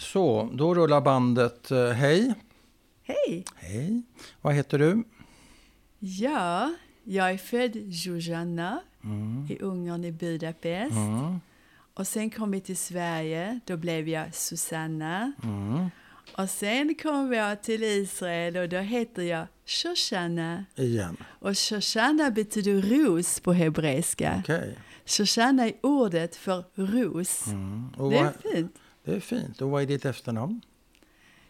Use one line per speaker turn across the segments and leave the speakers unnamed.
Så, då rullar bandet. Eh, Hej!
Hej!
Hej! Vad heter du?
Ja, jag är född Zuzana
Mm.
i Ungern i Budapest. Och sen kom vi till Sverige, då blev jag Susanna.
Mm.
Och sen kom jag till Israel och då heter jag Shoshana.
Igen.
Och Shoshana betyder ros på hebreiska.
Okej.
Shoshana är ordet för ros.
Och
Det är
Mm. vad-
fint.
Det är fint. Och vad är ditt efternamn?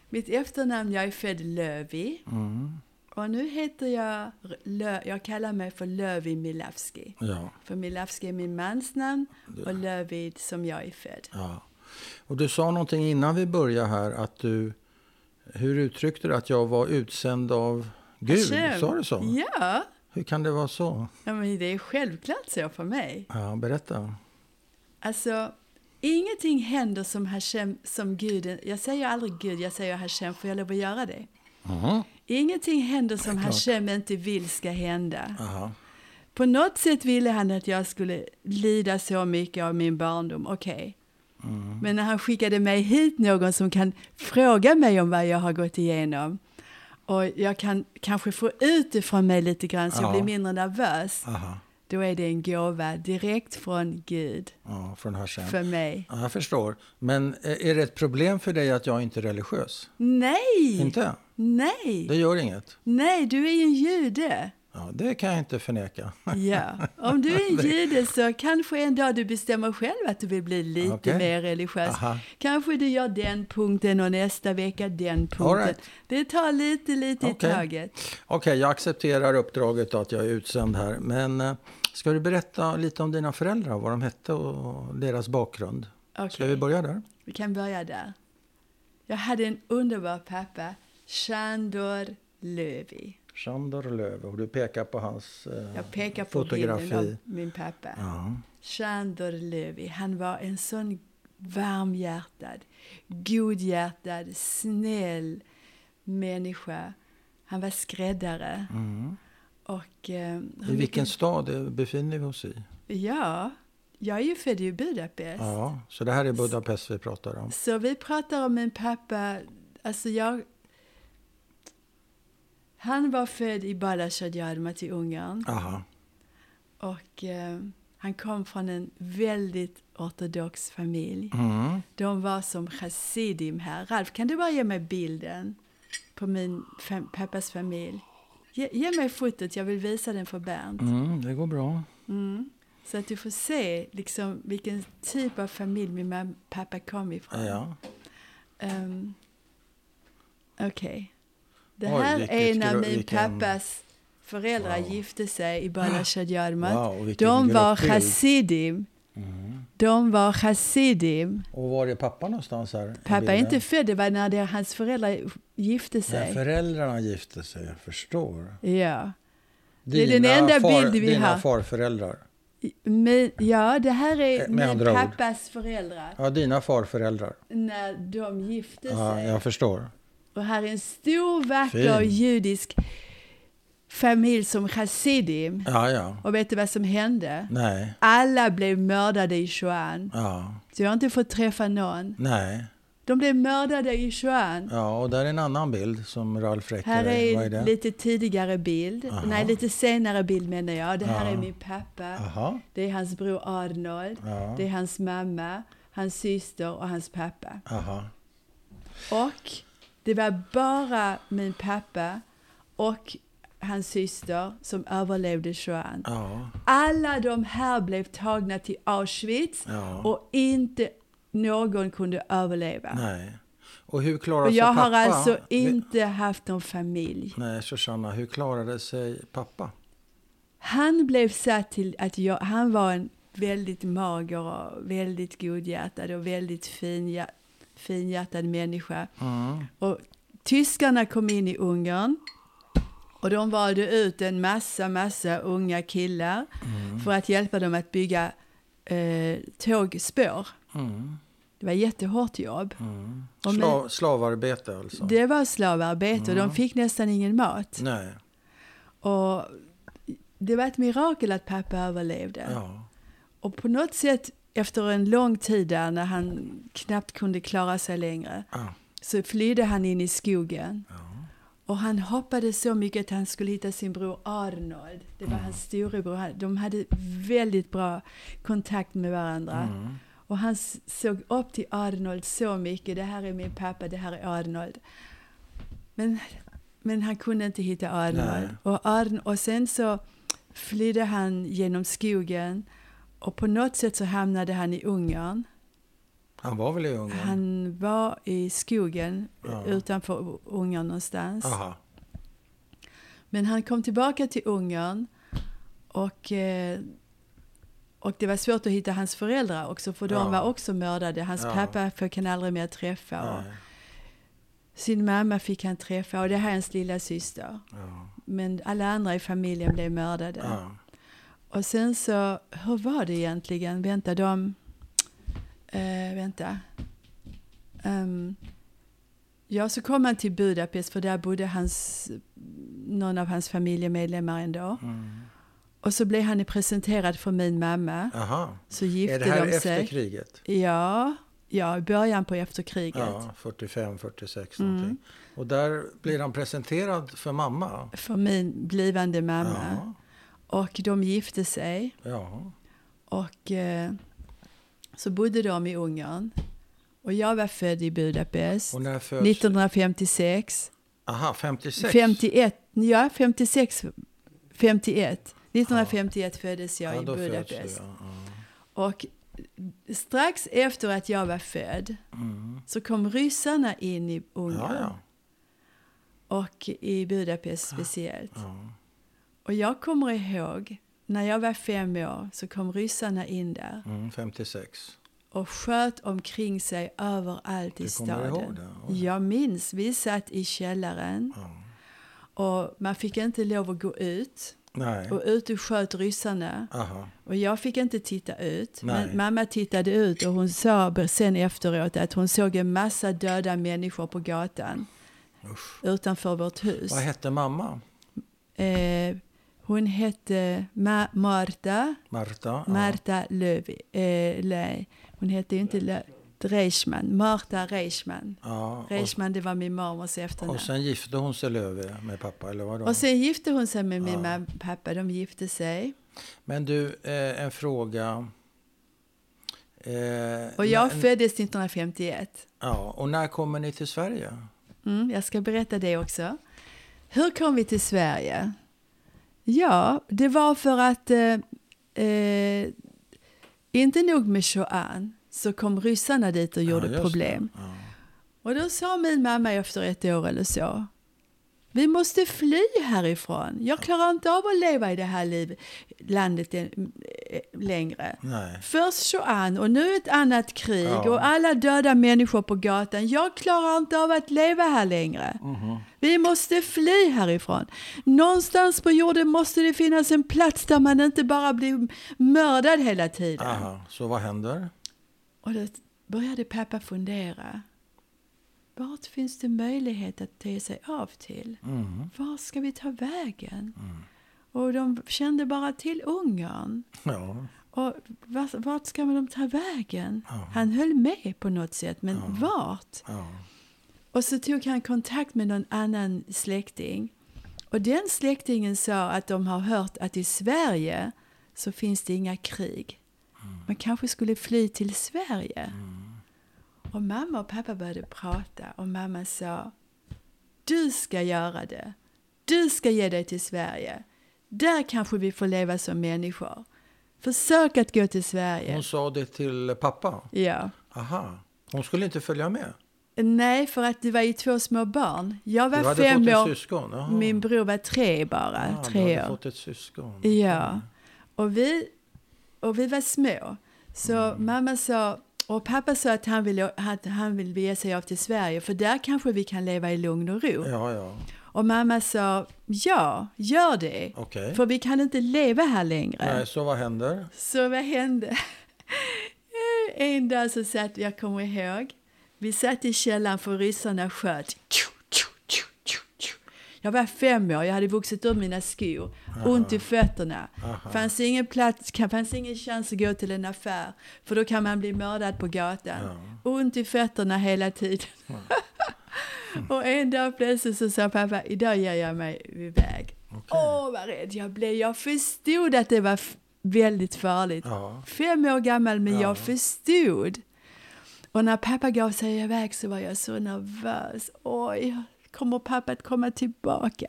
Mitt efternamn, jag är född Lövi.
Mm.
Och nu heter jag, Lö, jag kallar mig för Lövi Milavski.
Ja.
För Milavski är min mans namn och Lövid som jag är född.
ja. Och du sa någonting innan vi började här att du... Hur uttryckte du att jag var utsänd av Gud?
Hashem.
Sa du så?
Alltså, Ja,
Hur kan det vara så?
ja men det är självklart så för mig.
Ja, berätta.
Alltså, ingenting händer som Hashem, som Gud. Jag säger aldrig Gud, jag säger Hashem, för jag lov att göra det?
Mhm.
Ingenting händer som
klart.
Hashem inte vill ska hända.
Aha.
På något sätt ville han att jag skulle lida så mycket av min barndom. Okej.
Mm.
Men när han skickade mig hit någon som kan fråga mig om vad jag har gått igenom och jag kan kanske få ut det från mig lite grann så
Ja.
jag blir mindre nervös.
Aha.
Då är det en gåva direkt från Gud
Ja, från Hashem.
för mig.
Ja, jag förstår. Men eh, är det ett problem för dig att jag inte är religiös?
Nej!
Inte?
Nej!
Det gör inget?
Nej, du är ju en jude.
Ja, det kan jag inte förneka.
Ja, om du är en jude så kanske en dag du bestämmer själv att du vill bli lite
Okej.
mer religiös.
Aha.
Kanske du gör den punkten och nästa vecka den
All
punkten.
right.
Det tar lite, lite
Okej.
i taget.
Okej, jag accepterar uppdraget att jag är utsänd här. Men eh, ska du berätta lite om dina föräldrar, vad de hette och deras bakgrund? Ska
Okej,
vi börja där?
vi kan börja där. Jag hade en underbar pappa, Shandor Lövi.
Chandor Löv, och du pekar på hans eh,
Jag pekar på
fotografi.
bilden av min pappa.
Ja. mm.
Shandor Lövi, han var en sån varmhjärtad, godhjärtad, snäll människa. Han var skräddare. Och, eh, hur
I vilken
mycket-
stad eh, befinner vi oss i?
Ja, jag är ju född i Budapest.
Ja, så det här är Budapest vi pratar om.
Så vi pratar om en pappa, alltså jag... Han var född i Balazs i Ungern.
Aha.
Och eh, han kom från en väldigt ortodox familj.
Mm.
De var som chassidim här. Ralf, kan du bara ge mig bilden på min fam- pappas familj? Ge, ge mig fotot, jag vill visa den för Bernt.
Mm, det går bra.
Så att du får se liksom, vilken typ av familj min mam- pappa kom ifrån.
Ja.
Ehm, Okej. Det
Oj,
här
vilket
är när
gro-
min
vilken-
pappas föräldrar
Wow.
gifte sig i Balashad Yarmat.
Wow, vilken Mm.
De var
gruppbild.
chassidim. De var chassidim.
Och var är pappa någonstans här? i
Pappa är
bilden?
inte född, det var när det, hans föräldrar gifte
Nej,
sig.
föräldrarna gifte sig, jag förstår.
Ja. Det är den enda bild vi
dina
har.
farföräldrar.
I- Men, ja, det här
Eh,
är
med
min
andra ord.
pappas föräldrar
Ja, dina farföräldrar.
när de gifte
Ja,
sig.
jag förstår.
Och här är en stor, vacker
Fin.
judisk familj som chassidim.
Ja, ja.
Och vet du vad som hände?
Nej.
Alla blev mördade i Shoan.
Ja.
Så jag har inte fått träffa någon.
Nej.
De blev mördade i Shoan.
Ja, och där är en annan bild som Ralf räcker.
Här
Vad är
är
det?
en lite tidigare bild.
Aha.
Nej, lite senare bild menar jag. Det här
Ja.
är min pappa.
Aha.
Det är hans bror Arnold.
Ja.
Det är hans mamma, hans syster och hans pappa.
Aha.
Och det var bara min pappa och hans syster som överlevde Shoan.
Ja.
Alla de här blev tagna till Auschwitz
Ja.
och inte någon kunde överleva.
Nej. Och hur klarade
och jag
sig pappa?
har alltså
Vi-
inte haft någon familj.
Nej, Shoshana, hur klarade sig pappa?
Han blev satt till att jag, han var en väldigt mager och väldigt godhjärtad och väldigt finhjär, finhjärtad människa.
Mm.
Och tyskarna kom in i Ungern och de valde ut en massa, massa unga killar
Mm.
för att hjälpa dem att bygga eh, tågspår.
Mm.
Det var jättehårt jobb.
Mm.
Och med-
Slav, slavarbete alltså?
Det var slavarbete och
Mm.
de fick nästan ingen mat.
Nej.
Och det var ett mirakel att pappa överlevde.
Ja.
Och på något sätt efter en lång tid där när han knappt kunde klara sig längre
Ja.
så flydde han in i skogen. Och han hoppade så mycket att han skulle hitta sin bror Arnold. Det var hans storebror. Han- De hade väldigt bra kontakt med
Mm.
varandra. Och han s- såg upp till Arnold så mycket. Det här är min pappa, det här är Arnold. Men, men han kunde inte hitta Arnold.
Nej.
Och, Arn, och sen så flydde han genom skogen. Och på något sätt så hamnade han i Ungern.
Han var väl i Ungern?
Han var i skogen
Ja.
utanför Ungern någonstans.
Aha.
Men han kom tillbaka till Ungern och, eh, och det var svårt att hitta hans föräldrar också för
Ja.
de var också mördade. Hans
Ja.
pappa fick han aldrig mer träffa. Och
Nej.
sin mamma fick han träffa och det här är hans lilla syster.
Ja.
Men alla andra i familjen blev mördade.
Ja.
Och sen så, hur var det egentligen? Vänta, de... Eh, vänta. Ehm, ja, så kom han till Budapest för där bodde hans, någon av hans familjemedlemmar ändå.
Mm.
Och så blev han presenterad för min mamma.
Aha.
Så
Är
gifte
det här
de
efter
sig.
kriget?
Ja, ja, i början på efterkriget.
Ja, 45, 46 någonting.
Mm.
Och där blir han presenterad för mamma.
För min blivande mamma. Och de gifte sig.
Ja. ja.
Och eh, så bodde de i Ungern. Och jag var född i Budapest.
Och när föds...
1956.
Aha, 56?
51, ja 56, 51. 1951 föddes jag
ja,
i
då föds du,
Budapest.
ja,
Och strax efter att jag var född
ja. Mm.
så kom ryssarna in i Ungern
ja, ja. Ah.
och i Budapest speciellt.
ja.
Och jag kommer ihåg när jag var fem år så kom ryssarna in där
Mm, 56.
och sköt omkring sig överallt i
Du kommer
staden.
ihåg det? Oj.
Jag minns, vi satt i källaren
Ja.
och man fick inte lov att gå ut.
Nej.
Och ut och sköt ryssarna.
Aha.
Och jag fick inte titta ut.
Nej.
Men mamma tittade ut och hon sa sen efteråt att hon såg en massa döda människor på gatan
Usch.
utanför vårt hus.
Vad hette mamma?
Eh, hon hette Ma- Marta,
Marta? Ja.
Marta Löv, eh, Lej. Hon hette ju inte Löv. Reichman, Marta Reichman.
Ja.
Reichman, det var min mormors
Och, och
efternamn.
sen gifte hon sig Löfve med pappa, eller vadå?
Och sen gifte hon sig med min mamma och pappa. De gifte sig.
Men du, eh, en fråga. Eh,
Och jag
när,
föddes 1951.
ja, och när kommer ni till Sverige?
Mm, jag ska berätta det också. Hur kom vi till Sverige? Ja, det var för att eh, eh, inte nog med Shoah så kom ryssarna dit och gjorde
Ja, just
problem.
det. Ja.
Och då sa min mamma efter ett år eller så. Vi måste fly härifrån. Jag klarar inte av att leva i det här liv, landet eh, längre.
Nej.
Först Shoan och nu ett annat krig
Ja.
och alla döda människor på gatan. Jag klarar inte av att leva här längre. Vi måste fly härifrån. Någonstans på jorden måste det finnas en plats där man inte bara blir mördad hela tiden.
Aha, så vad händer?
Och då började pappa fundera. Vart finns det möjlighet att ta sig av till?
Mm.
Var ska vi ta vägen? Och de kände bara till Ungern.
Ja.
Och vart, vart ska de ta vägen?
Ja.
Han höll med på något sätt, men vart?
ja.
Och så tog han kontakt med någon annan släkting. Och den släktingen sa att de har hört att i Sverige så finns det inga krig.
Mm.
Man kanske skulle fly till Sverige. Och mamma och pappa började prata och mamma sa Du ska göra det. Du ska ge dig till Sverige. Där kanske vi får leva som människor. Försök att gå till Sverige.
Hon sa det till pappa?
Ja.
Aha. Hon skulle inte följa med?
Nej, för att det var ju två små barn. Jag
Du
var
hade
fem
fått ett
år.
syskon? Aha.
Min bror var tre bara,
ah, du
tre
hade
år.
fått ett syskon?
Ja. Och vi, och vi var små. Så
Mm.
mamma sa, och pappa sa att han vill, att han vill bege sig av till Sverige för där kanske vi kan leva i lugn och ro.
Ja, ja.
Och mamma sa, ja, gör det.
Okej.
För vi kan inte leva här längre.
Nej, så vad händer?
Så vad hände? En dag så satt, jag kommer ihåg, vi satt i källaren för ryssarna sköt. Jag var fem år, jag hade vuxit ur mina skor. Ont i fötterna. Fanns ingen plats, kan- fanns ingen chans att gå till en affär. För då kan man bli mördad på gatan. Ont i fötterna hela tiden. Och en dag plötsligt så sa pappa, idag ger jag mig iväg. Åh, vad rädd jag blev. Jag förstod att det var f- väldigt farligt.
Ja.
Fem år gammal, men
Ja.
jag förstod. Och när pappa gav sig iväg så var jag så nervös. Oj, kommer pappa att komma tillbaka?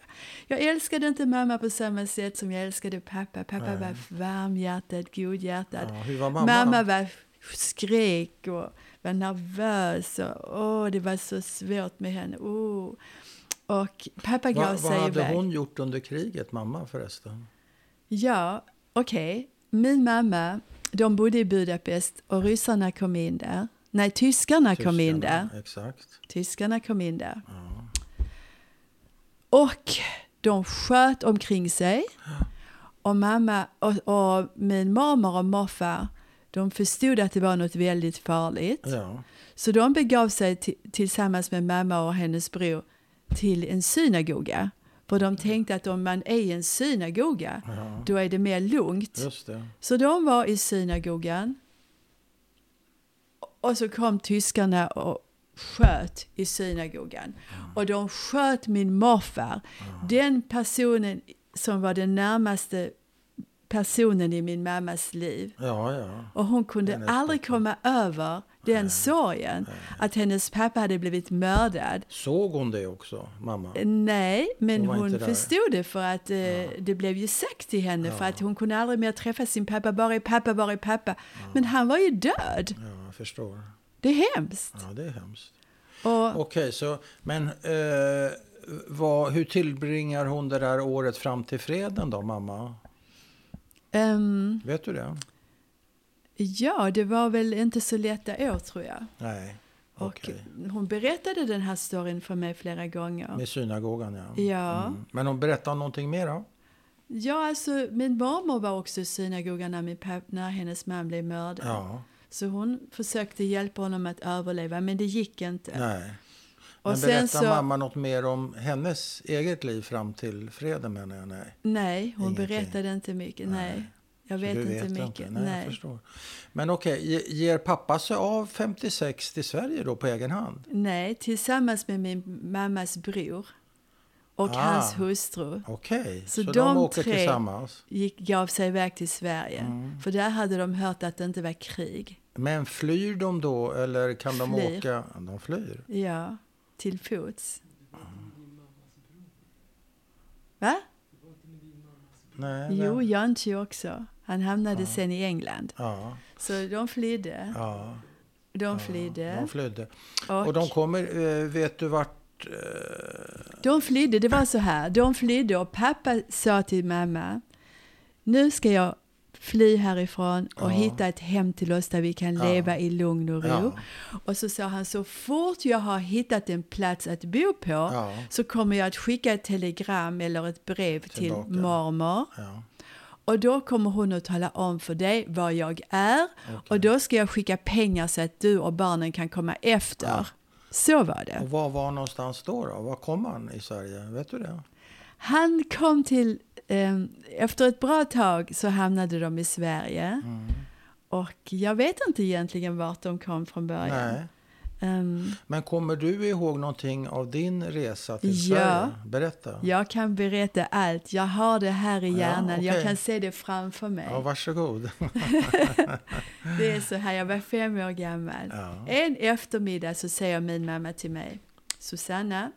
Jag älskade inte mamma på samma sätt som jag älskade pappa. Pappa var varmhjärtad, godhjärtad.
Ja, hur var mamma
mamma
då?
var skrek och var nervös. Och, åh, det var så svårt med henne. Oh. Och pappa gav
Va, vad
sig
hade
iväg.
hon gjort under kriget, mamma förresten?
Ja, okej. Min mamma, de bodde i Budapest och ryssarna kom in där. Nej, tyskarna, kom in där.
Tyskarna, Exakt.
Tyskarna kom in där. Och de sköt omkring sig. Och mamma och, och min mormor och morfar, de förstod att det var något väldigt farligt.
Ja.
Så de begav sig ti- tillsammans med mamma och hennes bror till en synagoga. För de tänkte att om man är i en synagoga,
ja,
då är det mer lugnt.
just det.
Så de var i synagogan. Och så kom tyskarna och sköt i synagogan. Och de sköt min morfar. Den personen som var den närmaste personen i min mammas liv.
Ja, ja.
Och hon kunde
Hennes
aldrig komma över den sorgen att hennes pappa hade blivit mördad.
Såg hon det också, mamma?
Nej, men
Hon var
hon,
inte där.
förstod det för att eh, det blev ju sagt till henne för att hon kunde aldrig mer träffa sin pappa. Var är pappa, var är pappa? Men han var ju död.
Ja, jag förstår.
Det är hemskt.
Ja, det är hemskt.
Och
Okej, så, men eh, vad, hur tillbringar hon det där året fram till freden då, mamma?
ehm,
Vet du det?
ja, det var väl inte så lätta år tror jag.
Nej.
Och
Okej.
hon berättade den här storyn för mig flera gånger.
Med Mm. synagogan, ja.
Ja.
Men hon berättar någonting mer då?
Ja, alltså min mormor var också i synagogan när, min pappa, när hennes man blev mördad.
Ja.
Så hon försökte hjälpa honom att överleva, men det gick inte.
Nej.
Och
Men
sen
berättar
så-
mamma något mer om hennes eget liv fram till freden, menar jag? Nej.
Nej, hon
Ingenting.
berättade inte mycket. Nej. Jag
Så
vet
du
inte mycket.
Nej, Jag
Nej.
förstår. Men okej, ge- ger pappa sig av 56 till Sverige då på egen hand?
Nej, tillsammans med min mammas bror och
Ah.
hans hustru
Okej, så,
Så
de,
de
åker
tre-
tillsammans.
gick, gav sig iväg till Sverige.
Mm.
För där hade de hört att det inte var krig.
Men flyr de då eller kan de
Flyr.
åka? De flyr.
Ja, till fots. Va?
Nej,
Jo,
men-
Jantje också. Han hamnade sen i England.
Ja,
Så de flydde.
ja,
De flydde.
de flydde.
Och,
Och de kommer, eh, vet du vart? eh,
De flydde, det var så här. De flydde och pappa sa till mamma. Nu ska jag fly härifrån och
Ja.
hitta ett hem till oss där vi kan
Ja.
leva i lugn och ro.
Ja.
Och så sa han så fort jag har hittat en plats att bo på
Ja.
så kommer jag att skicka ett telegram eller ett brev
Tillbaka.
till mormor.
Ja,
Och då kommer hon att tala om för dig var jag är och då ska jag skicka pengar så att du och barnen kan komma efter.
Ja.
Så var det.
och var var någonstans då? då? Var kom han i Sverige? Vet du det?
Han kom till... ehm, efter ett bra tag så hamnade de i Sverige.
Mm.
Och jag vet inte egentligen vart de kom från början.
Nej.
Ehm,
Men kommer du ihåg någonting av din resa till
Ja.
Sverige? Berätta.
jag kan berätta allt. Jag har det här i
Ja,
hjärnan.
okej.
Jag kan se det framför mig.
Ja, varsågod.
Det är så här, jag var fem år gammal.
Ja.
En eftermiddag så säger min mamma till mig, Susanna,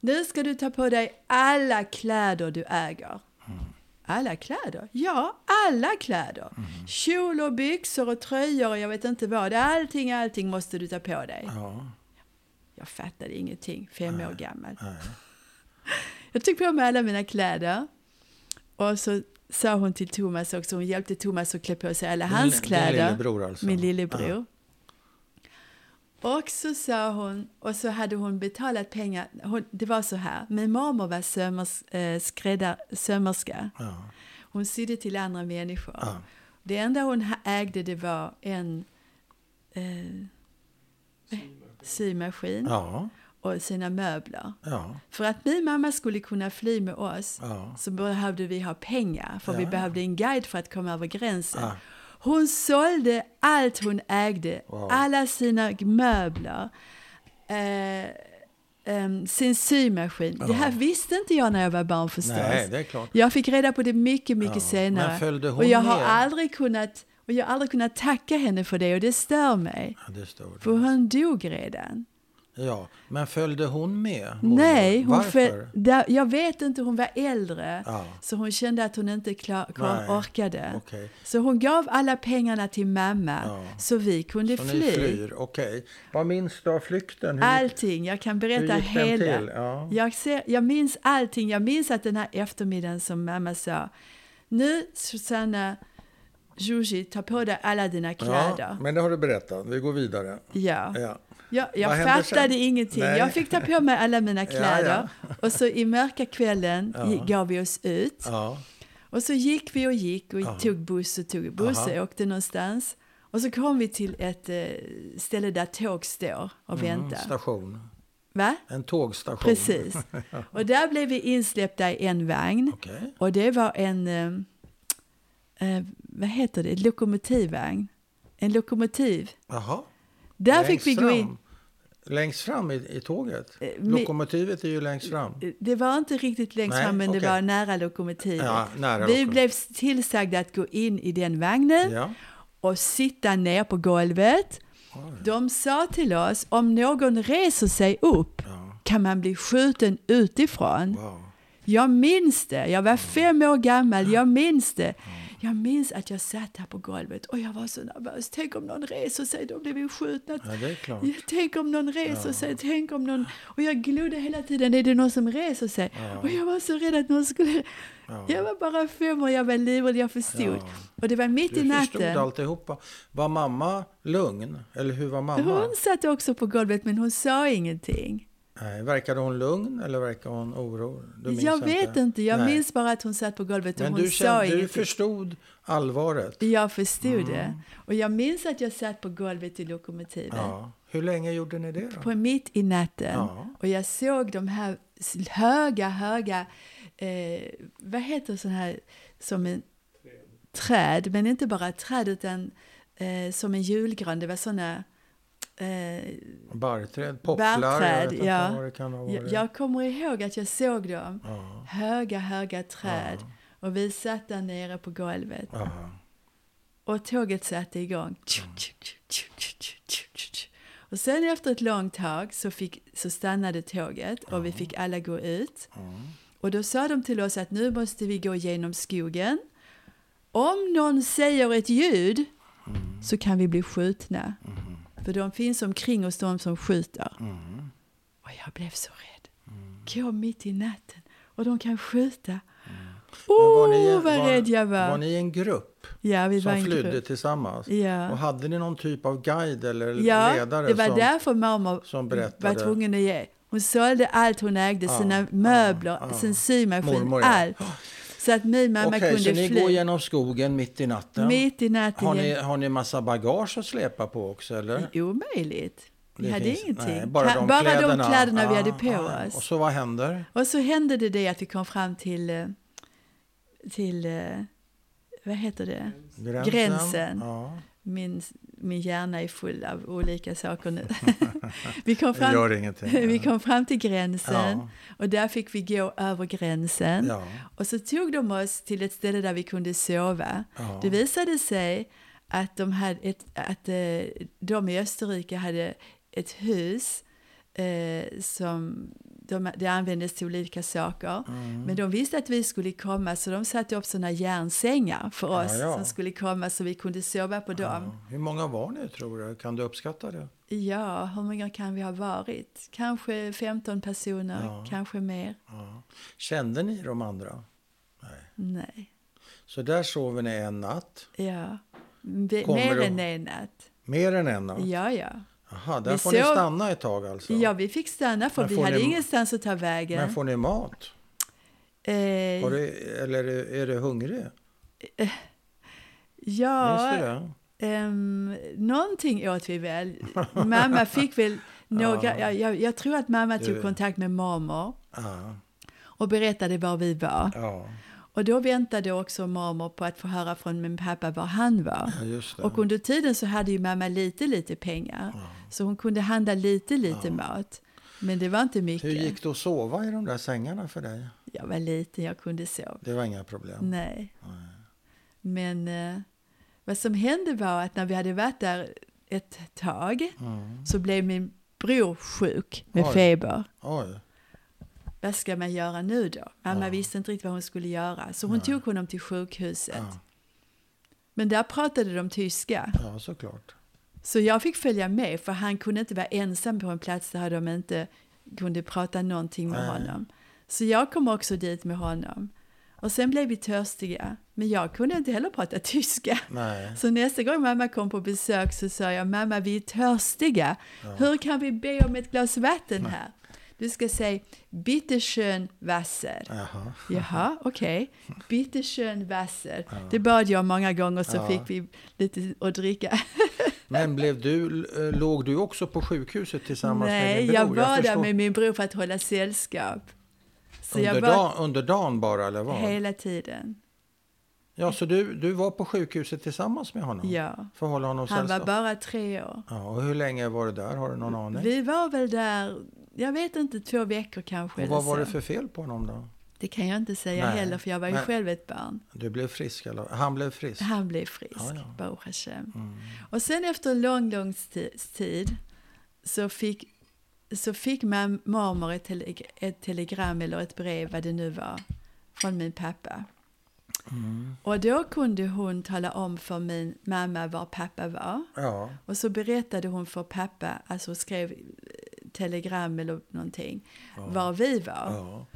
nu ska du ta på dig alla kläder du äger.
Mm.
Alla kläder? Ja, alla kläder.
Mm.
Kjol och byxor och tröjor och jag vet inte vad. Allting, allting måste du ta på dig.
Ja,
Jag fattade ingenting, fem år gammal.
nej.
Jag tog på mig alla mina kläder. Och så sa hon till Thomas också, hon hjälpte Thomas att klä på sig alla
Din-
hans kläder.
Din lillebror alltså?
Min lillebror. Och så sa hon, och så hade hon betalat pengar. Hon, det var så här, min mormor var sömmers, eh, skräddar, sömmerska.
Ja.
Hon sydde till andra människor.
Ja.
Det enda hon ha- ägde det var en eh, symaskin.
Ja.
och sina möbler.
Ja,
För att min mamma skulle kunna fly med oss
ja.
så behövde vi ha pengar för vi
Ja.
behövde en guide för att komma över gränsen.
Ah.
Hon sålde allt hon ägde,
Wow.
alla sina möbler, eh, em, sin symaskin. Det här visste inte jag när jag var barn förstås.
Nej, det är klart.
Jag fick reda på det mycket, mycket
Ja,
senare.
men följde hon
och jag har
med?
aldrig kunnat och jag har aldrig kunnat tacka henne för det och det stör mig.
Ja, det står
För
det.
hon dog redan.
Ja, men följde hon med?
Nej, hon
Varför?
för, där, jag vet inte, hon var äldre.
Ja.
Så hon kände att hon inte klar, klar,
Nej,
orkade.
okej.
Så hon gav alla pengarna till mamma
Ja.
så vi kunde
Så
fly.
ni flyr, okej. Vad minns du av flykten? Hur-
Allting, jag kan berätta
Hur gick den
hela.
till? Ja.
Jag, ser, jag minns allting. Jag minns att den här eftermiddagen som mamma sa, nu Susanna, Joji, ta på dig alla dina
ja,
kläder.
men det har du berättat. Vi går vidare.
Ja.
Ja.
Jag,
Vad
jag
hände
fattade
sen?
ingenting.
Nej.
Jag fick ta på mig alla mina
ja.
kläder. Och så i mörka kvällen ja. gav vi oss ut.
Ja.
Och så gick vi och gick och tog buss och tog buss och åkte någonstans. Och så kom vi till ett eh, ställe där tåg står och
Mm,
väntar.
Station.
Va?
En tågstation.
Precis. Och där blev vi insläppta i en vagn.
Okej.
Och det var en, eh, eh, vad heter det, lokomotivvagn. En lokomotiv.
Jaha.
Där
Längst
fick vi gå in.
fram. Längst fram i, i tåget?
Eh, mi-
Lokomotivet är ju längst fram.
Det var inte riktigt längst
Nej,
fram, men det
okej.
var nära lokomotivet.
Ja, nära
vi
lokomotivet.
blev tillsagda att gå in i den vagnen
Ja.
och sitta ner på golvet. De sa till oss, om någon reser sig upp
Ja.
kan man bli skjuten utifrån.
Wow.
Jag minns det. Jag var fem år gammal. Jag minns det. Jag minns att jag satt här på golvet och jag var så nervös. Tänk om någon reser sig, då blir vi skjutna.
Ja, det är klart.
Ja, Tänk om någon reser sig, tänk om någon... Och jag glodde hela tiden, är det någon som reser sig? Och jag var så rädd att någon skulle... Jag var bara fem år, jag var livrädd, jag förstod. Och det var mitt i
Du förstod
natten.
alltihopa. Var mamma lugn? Eller hur var mamma?
Hon satt också på golvet, men hon sa ingenting.
Nej, verkade hon lugn eller verkade hon oro? Du minns
Jag vet inte, jag
Nej.
minns bara att hon satt på golvet och
Men
hon
du,
sa
kände, du
ingenting.
förstod allvaret?
Jag förstod det.
Mm.
Och jag minns att jag satt på golvet i lokomotivet.
Ja. Hur länge gjorde ni det då?
På mitt i natten.
Ja.
Och jag såg de här s- höga, höga... Eh, vad heter sån här... Som en träd. Men inte bara träd, utan eh, som en julgran. Det var såna... Eh,
Barrträd, popplar, jag
Barrträd,
vet inte
ja.
vad det kan ha
jag,
varit.
jag kommer ihåg att jag såg dem.
Ja.
Höga, höga träd. Och vi satt där nere på golvet.
Aha.
Och tåget satte igång.
Mm.
Och sen efter ett långt tag så, fick, så stannade tåget och vi fick alla gå ut. Och då sa de till oss att nu måste vi gå genom skogen. Om någon säger ett ljud
Mm.
så kan vi bli skjutna. För de finns omkring oss, de som skjuter.
Mm.
Och jag blev så rädd. Gå mitt i natten och de kan skjuta. Åh,
Mm. Men var ni-
vad
var-
rädd jag var!
Var ni en grupp
ja, vi var
som
en
flydde
grupp.
tillsammans?
Ja.
Och hade ni någon typ av guide eller
Ja,
ledare?
det var
som,
därför mamma
som
var
berättade. Ah,
tvungen att ge. Hon sålde allt hon ägde, sina möbler, sin symaskin,
Mormor, ja.
allt. Så att min mamma
Okej, så
kunde
ni
fly.
går genom skogen mitt i natten?
Mitt i natten.
har, ni,
igen.
har ni massa bagage att släpa på också eller?
Omöjligt. Vi
Det
hade
finns-
ingenting.
Nej, bara
Ka-
de
bara
kläderna,
de kläderna vi
Ah,
hade på
ah. Och
oss.
så vad händer?
Och så hände det det att vi kom fram till, eh, till eh, vad heter det?
Gränsen.
Gränsen.
Ja.
Min, min hjärna är full av olika saker nu. vi kom
Det
fram
gör ingenting.
Vi kom fram till gränsen
Ja.
och där fick vi gå över gränsen.
Ja.
Och så tog de oss till ett ställe där vi kunde sova.
Ja.
Det visade sig att de, hade ett, att eh, de i Österrike hade ett hus eh, som de, det användes till olika saker.
Mm.
Men de visste att vi skulle komma så de satte upp sådana järnsängar för
Ja,
oss
ja.
som skulle komma så vi kunde sova på dem.
Hur många var ni tror du? Kan du uppskatta det?
Ja, hur många kan vi ha varit? Kanske 15 personer, kanske mer.
Ja. Kände ni de andra?
Nej,
Så där sover ni en natt.
ja. Vi,
Kommer
mer
du-
än en natt.
Mer än en natt?
Ja, ja.
Aha, där
Vi
får ni
sov-
stanna ett tag alltså?
Ja, vi fick stanna för
Men
vi
får
hade
ni-
ingenstans att ta vägen.
Men får ni mat?
eh,
Har du, eller är du, är du hungrig? Minns du
ja,
det?
ehm, någonting åt vi väl. Mamma fick väl Några, jag, jag, jag tror att mamma tog
Du-
kontakt med mormor
Ja.
och berättade var vi var.
Ja.
Och då väntade också mormor på att få höra från min pappa var han var.
Ja, just det.
Och under tiden så hade ju mamma lite, lite pengar. Så hon kunde handla lite, lite mat. Men det var inte mycket.
Hur gick det att sova i de där sängarna för dig?
Jag var liten, jag kunde sova.
Det var inga problem.
Nej. Men eh, vad som hände var att när vi hade varit där ett tag så blev min bror sjuk med
Mm. Oj.
feber.
Oj.
Vad ska man göra nu då? Mamma visste inte riktigt vad hon skulle göra så hon tog honom till sjukhuset.
Ja.
Men där pratade de tyska.
Ja, såklart.
Så jag fick följa med för han kunde inte vara ensam på en plats där de inte kunde prata någonting med
Nej.
honom. Så jag kom också dit med honom. Och sen blev vi törstiga, men jag kunde inte heller prata tyska.
Nej.
Så nästa gång mamma kom på besök så sa jag, mamma vi är törstiga. Hur kan vi be om ett glas vatten här? Du ska säga, bitte schön Wasser.
Jaha.
Jaha, okej. Bitte schön Wasser. Det bad jag många gånger så
Ja.
fick vi lite att dricka.
Men blev du, eh, låg du också på sjukhuset tillsammans med din
Nej,
bror?
jag var där
förstår.
med min bror för att hålla sällskap. Så
under,
jag var
dag, under dagen bara, eller vad?
hela tiden.
Ja, så du, du var på sjukhuset tillsammans med honom?
Ja.
För att hålla honom
Han var
sällskap?
bara tre år.
Ja, och hur länge var du där? Har du någon aning?
Vi var väl där, jag vet inte, två veckor kanske.
och
eller
vad var
så.
det för fel på honom då?
det kan jag inte säga
Nej,
heller, för jag var ju
men-
själv ett barn.
Du blev frisk eller? Han blev frisk?
Han blev frisk,
Ja, Mm. ja.
Baruch Hashem. Och sen efter lång, lång sti- tid så fick, så fick mam- mormor ett, tele- ett telegram eller ett brev, vad det nu var, från min pappa.
Mm.
Och då kunde hon tala om för min mamma var pappa var.
Ja.
Och så berättade hon för pappa, alltså skrev eh, telegram eller någonting, var vi var.
ja.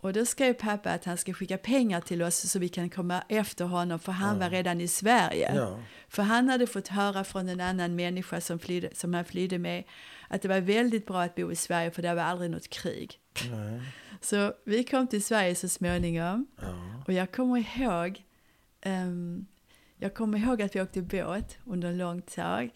Och då skrev pappa att han ska skicka pengar till oss så vi kan komma efter honom för han var redan i Sverige.
Ja.
För han hade fått höra från en annan människa som, flydde, som han flydde med att det var väldigt bra att bo i Sverige för det var aldrig något krig.
Nej.
Så vi kom till Sverige så småningom
Ja.
och jag kommer ihåg ehm, jag kommer ihåg att vi åkte båt under en lång tag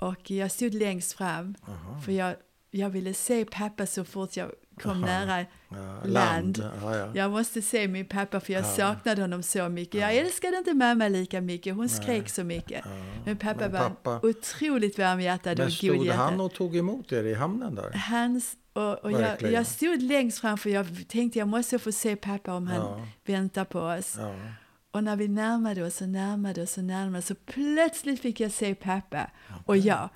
och jag stod längst fram
Aha.
för jag, jag ville se pappa så fort jag kom
Aha.
nära
Ja,
Land.
Ja, ja.
jag måste se min pappa för jag
Ja.
saknade honom så mycket. Jag älskade inte mamma lika mycket, hon skrek så mycket.
Ja.
Men pappa
Men pappa-
var otroligt varmhjärtad och
Men
god
stod
hjärta.
han och tog emot er i hamnen där?
Hans, och, och jag,
Verkligen.
jag stod längst fram för jag tänkte jag måste få se pappa om han
Ja.
väntar på oss.
Ja.
Och när vi närmade oss och närmade oss och närmade oss så plötsligt fick jag se pappa. Och jag,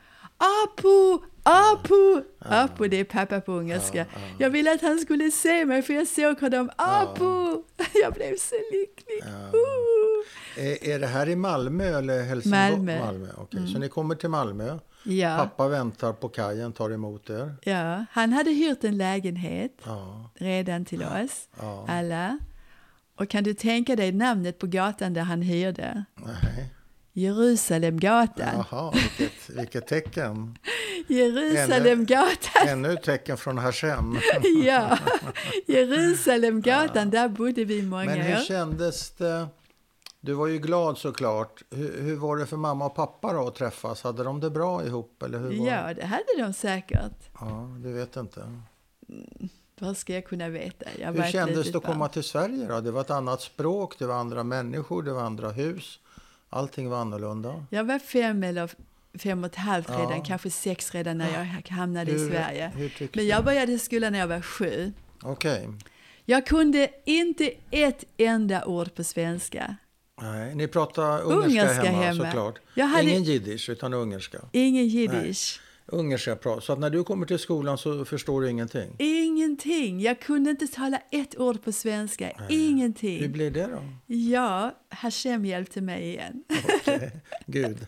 Apu, Apu, Apu, det är pappa på ungerska. Jag ville att han skulle se mig för jag såg honom, Apu. Jag blev så lycklig.
Ja.
Uh.
Eh, Är, är det här i Malmö eller Helsingborg?
Malmö. Mm.
okej. Så ni kommer till Malmö.
Ja,
Pappa väntar på kajen, tar emot er.
ja, han hade hyrt en lägenhet
Ja.
redan till oss,
Ja.
alla. Och kan du tänka dig namnet på gatan där han hyrde?
Nej.
Jerusalemgatan.
Jaha, vilket, vilket tecken.
Jerusalemgatan.
Ännu ett tecken från Hashem.
Ja, Jerusalemgatan, där bodde vi i många
Men hur
år.
kändes det? Du var ju glad såklart. Hur, hur var det för mamma och pappa då att träffas? Hade de det bra ihop? Eller hur var det?
Ja, det hade de säkert.
ja, du vet inte.
Vad ska jag kunna veta? Jag var
Hur
ett
kändes
litet
det att komma
barn.
till Sverige då? Det var ett annat språk, det var andra människor, det var andra hus. Allting var annorlunda.
Jag var fem eller fem och ett halvt
Ja.
redan, kanske sex redan när jag hamnade i
Hur-
Sverige.
hur tyckte
Men jag började skolan när jag var sju.
Okej.
Jag kunde inte ett enda ord på svenska.
Nej, ni pratade ungerska,
Ungerska
hemma,
hemma.
såklart.
Jag hade-
Ingen jiddisch utan ungerska.
Ingen jiddisch.
Ungerska prat. Så att när du kommer till skolan så förstår du ingenting.
Ingenting. Jag kunde inte tala ett ord på svenska.
Hur
Ingenting.
blir det då?
Ja, Hashem hjälpte mig igen.
Okej, Gud.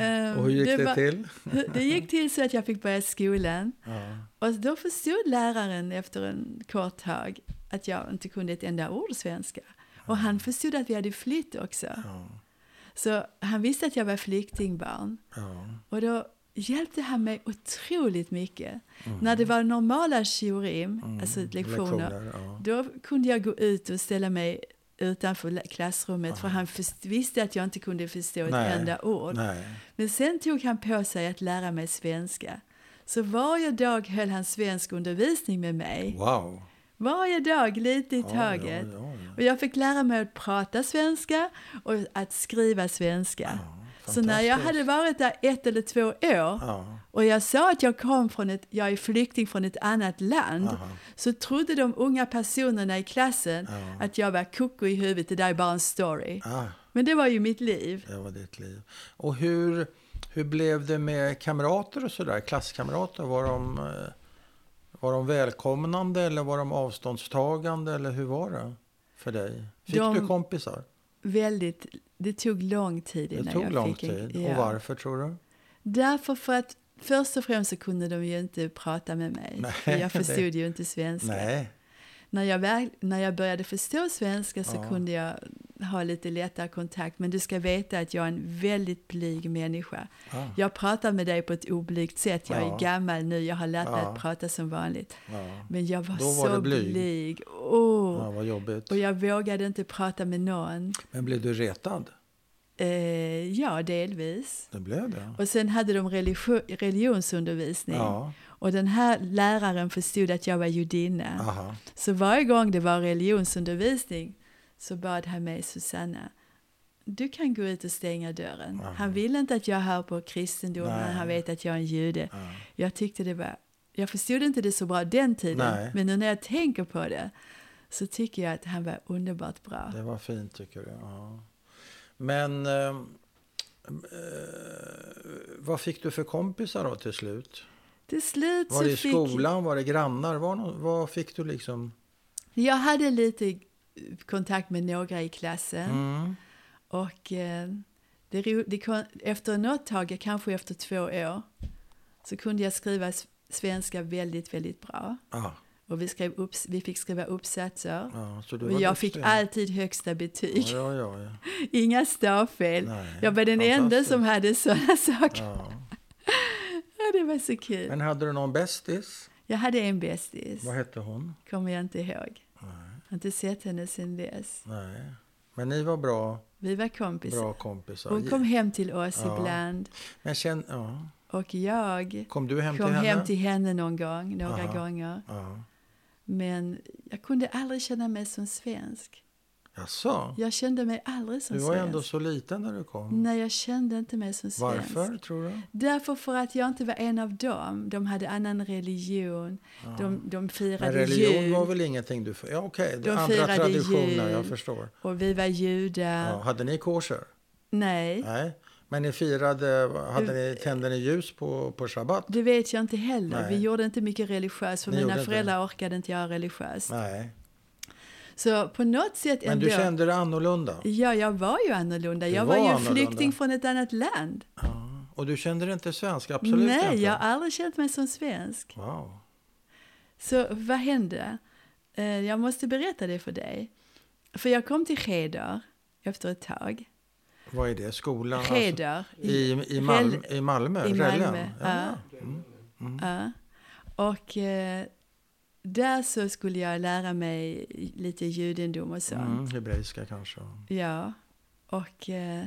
Ehm,
Och hur gick det,
var-
till?
Det gick till så att jag fick börja skolan.
Ja.
Och då förstod läraren efter en kort tag att jag inte kunde ett enda ord svenska. Och
Mm.
han förstod att vi hade flytt också. Så han visste att jag var flyktingbarn.
Ja.
Och då hjälpte han mig otroligt mycket.
Mm.
När det var normala shiurim, alltså lektioner,
Lektioner, ja.
då kunde jag gå ut och ställa mig utanför la- klassrummet för han först- visste att jag inte kunde förstå ett
Nej.
enda ord.
Nej.
Men sen tog han på sig att lära mig svenska. Så varje dag höll han svenskundervisning med mig.
Wow.
Varje dag, lite i
Ja,
taget.
Ja, ja, ja.
Och jag fick lära mig att prata svenska och att skriva svenska. Så när jag hade
fantastiskt.
varit där ett eller två år
Ja,
och jag sa att jag kom från ett, jag är flykting från ett annat land
Aha.
så trodde de unga personerna i klassen
Ja.
att jag var koko i huvudet, det där är bara en story.
ah,
Men det var ju mitt liv.
det var ditt liv. Och hur, hur blev det med kamrater och sådär? Klasskamrater, var de, eh, var de välkomnande eller var de avståndstagande? Eller hur var det för dig? Fick
De-
du kompisar?
Väldigt, det tog lång tid innan
Det tog
jag
lång
fick en,
tid. Och varför tror du?
Därför för att först och främst så kunde de ju inte prata med mig.
Nej,
för jag förstod
det-
ju inte svenska.
Nej.
När, jag väl, när jag började förstå svenska så
Ja.
kunde jag ha lite lättare kontakt. Men du ska veta att jag är en väldigt blyg människa.
Ah,
Jag pratar med dig på ett oblygt sätt. Jag
Ja.
är gammal nu, jag har lärt mig
Ja.
att prata som vanligt.
ja.
Men jag var,
Då var
så
du blyg.
blyg. Åh.
ja, vad jobbigt.
Och jag vågade inte prata med någon.
Men blev du retad?
Eh, ja, delvis.
Det blev det.
Och sen hade de religio- religionsundervisning.
Ja.
Och den här läraren förstod att jag var judinna.
Aha.
Så varje gång det var religionsundervisning så bad han mig, Susanna, du kan gå ut och stänga dörren.
Ja.
Han vill inte att jag hör på kristendomen,
Nej.
han vet att jag är en jude.
Ja.
Jag tyckte det var, jag förstod inte det så bra den tiden,
Nej.
men nu när jag tänker på det så tycker jag att han var underbart bra.
Det var fint tycker du. Ja. Men eh, eh, vad fick du för kompisar då till slut?
Till slut
Var
så
det i
fick
skolan? Var det grannar? Var nå- vad fick du liksom?
jag hade lite kontakt med några i klassen.
Mm.
Och eh, det, ro- det kom, efter något tag, kanske efter två år, så kunde jag skriva s- svenska väldigt, väldigt bra.
Ah,
Och vi, skrev upp, vi fick skriva uppsatser.
ja, så du
Och
var
jag fick
duktig.
alltid högsta betyg.
Ja, ja, ja.
Inga stavfel.
Nej,
Jag var den enda
fantastiskt.
som hade sådana saker.
ja.
Ja, det var så kul.
Men hade du någon bästis?
Jag hade en bästis,
Vad hette hon?
kommer jag inte ihåg. Jag har inte sett henne sedan dess.
Nej. Men ni var bra,
Vi var kompisar.
bra kompisar.
Hon kom hem till oss
Ja.
ibland.
Men känn, ja.
Och jag
Kom du hem
kom
till henne?
hem till henne någon gång, några
Aha.
gånger.
Ja.
Men jag kunde aldrig känna mig som svensk.
Jaså?
Jag kände mig aldrig som
Du var
svensk.
ändå så liten när du kom.
Nej, jag kände inte mig som svensk.
Varför tror du?
Därför för att jag inte var en av dem. De hade annan religion. De, de
Men
firade
religion
jul.
var väl ingenting du... Ja, okej, det
De
är andra
firade
traditioner,
jul.
jag förstår.
Och vi var judar.
Ja, hade ni korser?
Nej,
Nej. Men ni firade, hade ni, tände ni ljus på, på shabbat?
det vet jag inte heller.
Nej.
Vi gjorde inte mycket religiöst för
Ni gjorde
mina
inte?
föräldrar orkade inte göra religiöst.
Nej.
Så på något sätt
Men
ändå.
du kände dig annorlunda?
Ja, jag var ju annorlunda.
Du
Jag
var
var, ju en
annorlunda.
flykting från ett annat land.
Ja. Och du kände dig inte svensk? Absolut
Nej,
inte?
jag har aldrig känt mig som svensk.
Wow.
Så vad hände? Eh, Jag måste berätta det för dig. För jag kom till Heder efter ett tag.
Vad är det? Skolan? alltså?
Heder.
I, i, Malmö, I Malmö?
I
Rällen?
Malmö,
Ja. Mm.
Ja. Och eh, där så skulle jag lära mig lite judendom och sånt.
Mm, hebreiska kanske.
Ja. Och eh,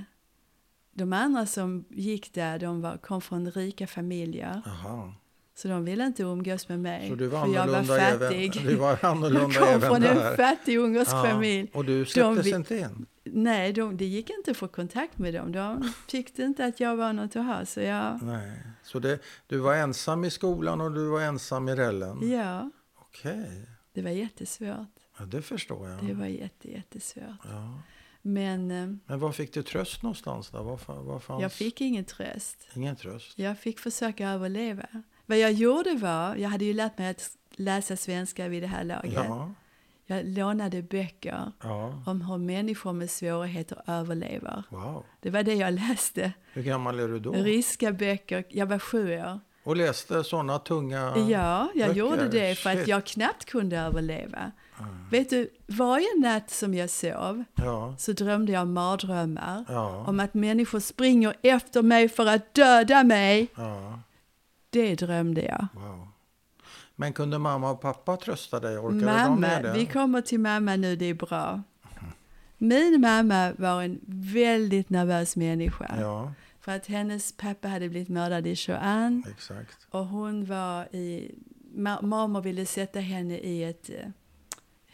de andra som gick där, de var, kom från rika familjer.
Aha.
Så de ville inte umgås med mig.
Så du var
för jag var
annorlunda
fattig.
även, du var
jag
annorlunda
kom
även
från
där.
en fattig ungersk familj.
Och du släpptes
vi-
inte in?
Nej, de, det gick inte att få kontakt med dem. De tyckte inte att jag var något att ha. Så jag,
Nej. Så det, du var ensam i skolan och du var ensam i rällen?
ja,
Okej,
det var jättesvårt.
ja, det förstår jag.
Det var jätte, jättesvårt.
Ja.
Men eh,
Men var fick du tröst någonstans då? Var, fa- var fanns...
jag fick ingen tröst.
Ingen tröst?
Jag fick försöka överleva. Vad jag gjorde var, jag hade ju lärt mig att läsa svenska vid det här laget.
Ja.
Jag lånade böcker
ja.
om hur människor med svårigheter överlever.
Wow.
Det var det jag läste.
Hur gammal är du då?
Ryska böcker. Jag var sju år.
Och läste sådana tunga...
Ja, jag
böcker.
gjorde det för
Shit.
att jag knappt kunde överleva. Vet du, varje natt som jag sov
Ja.
så drömde jag mardrömmar
Ja.
om att människor springer efter mig för att döda mig.
ja.
Det drömde jag.
Wow. Men kunde mamma och pappa trösta dig? Orkade de med
Mamma,
det?
vi kommer till mamma nu, det är bra. Min mamma var en väldigt nervös människa.
Ja.
För För att hennes pappa hade blivit mördad i Shuan
Exakt.
och hon var i... Ma- mamma ville sätta henne i ett eh,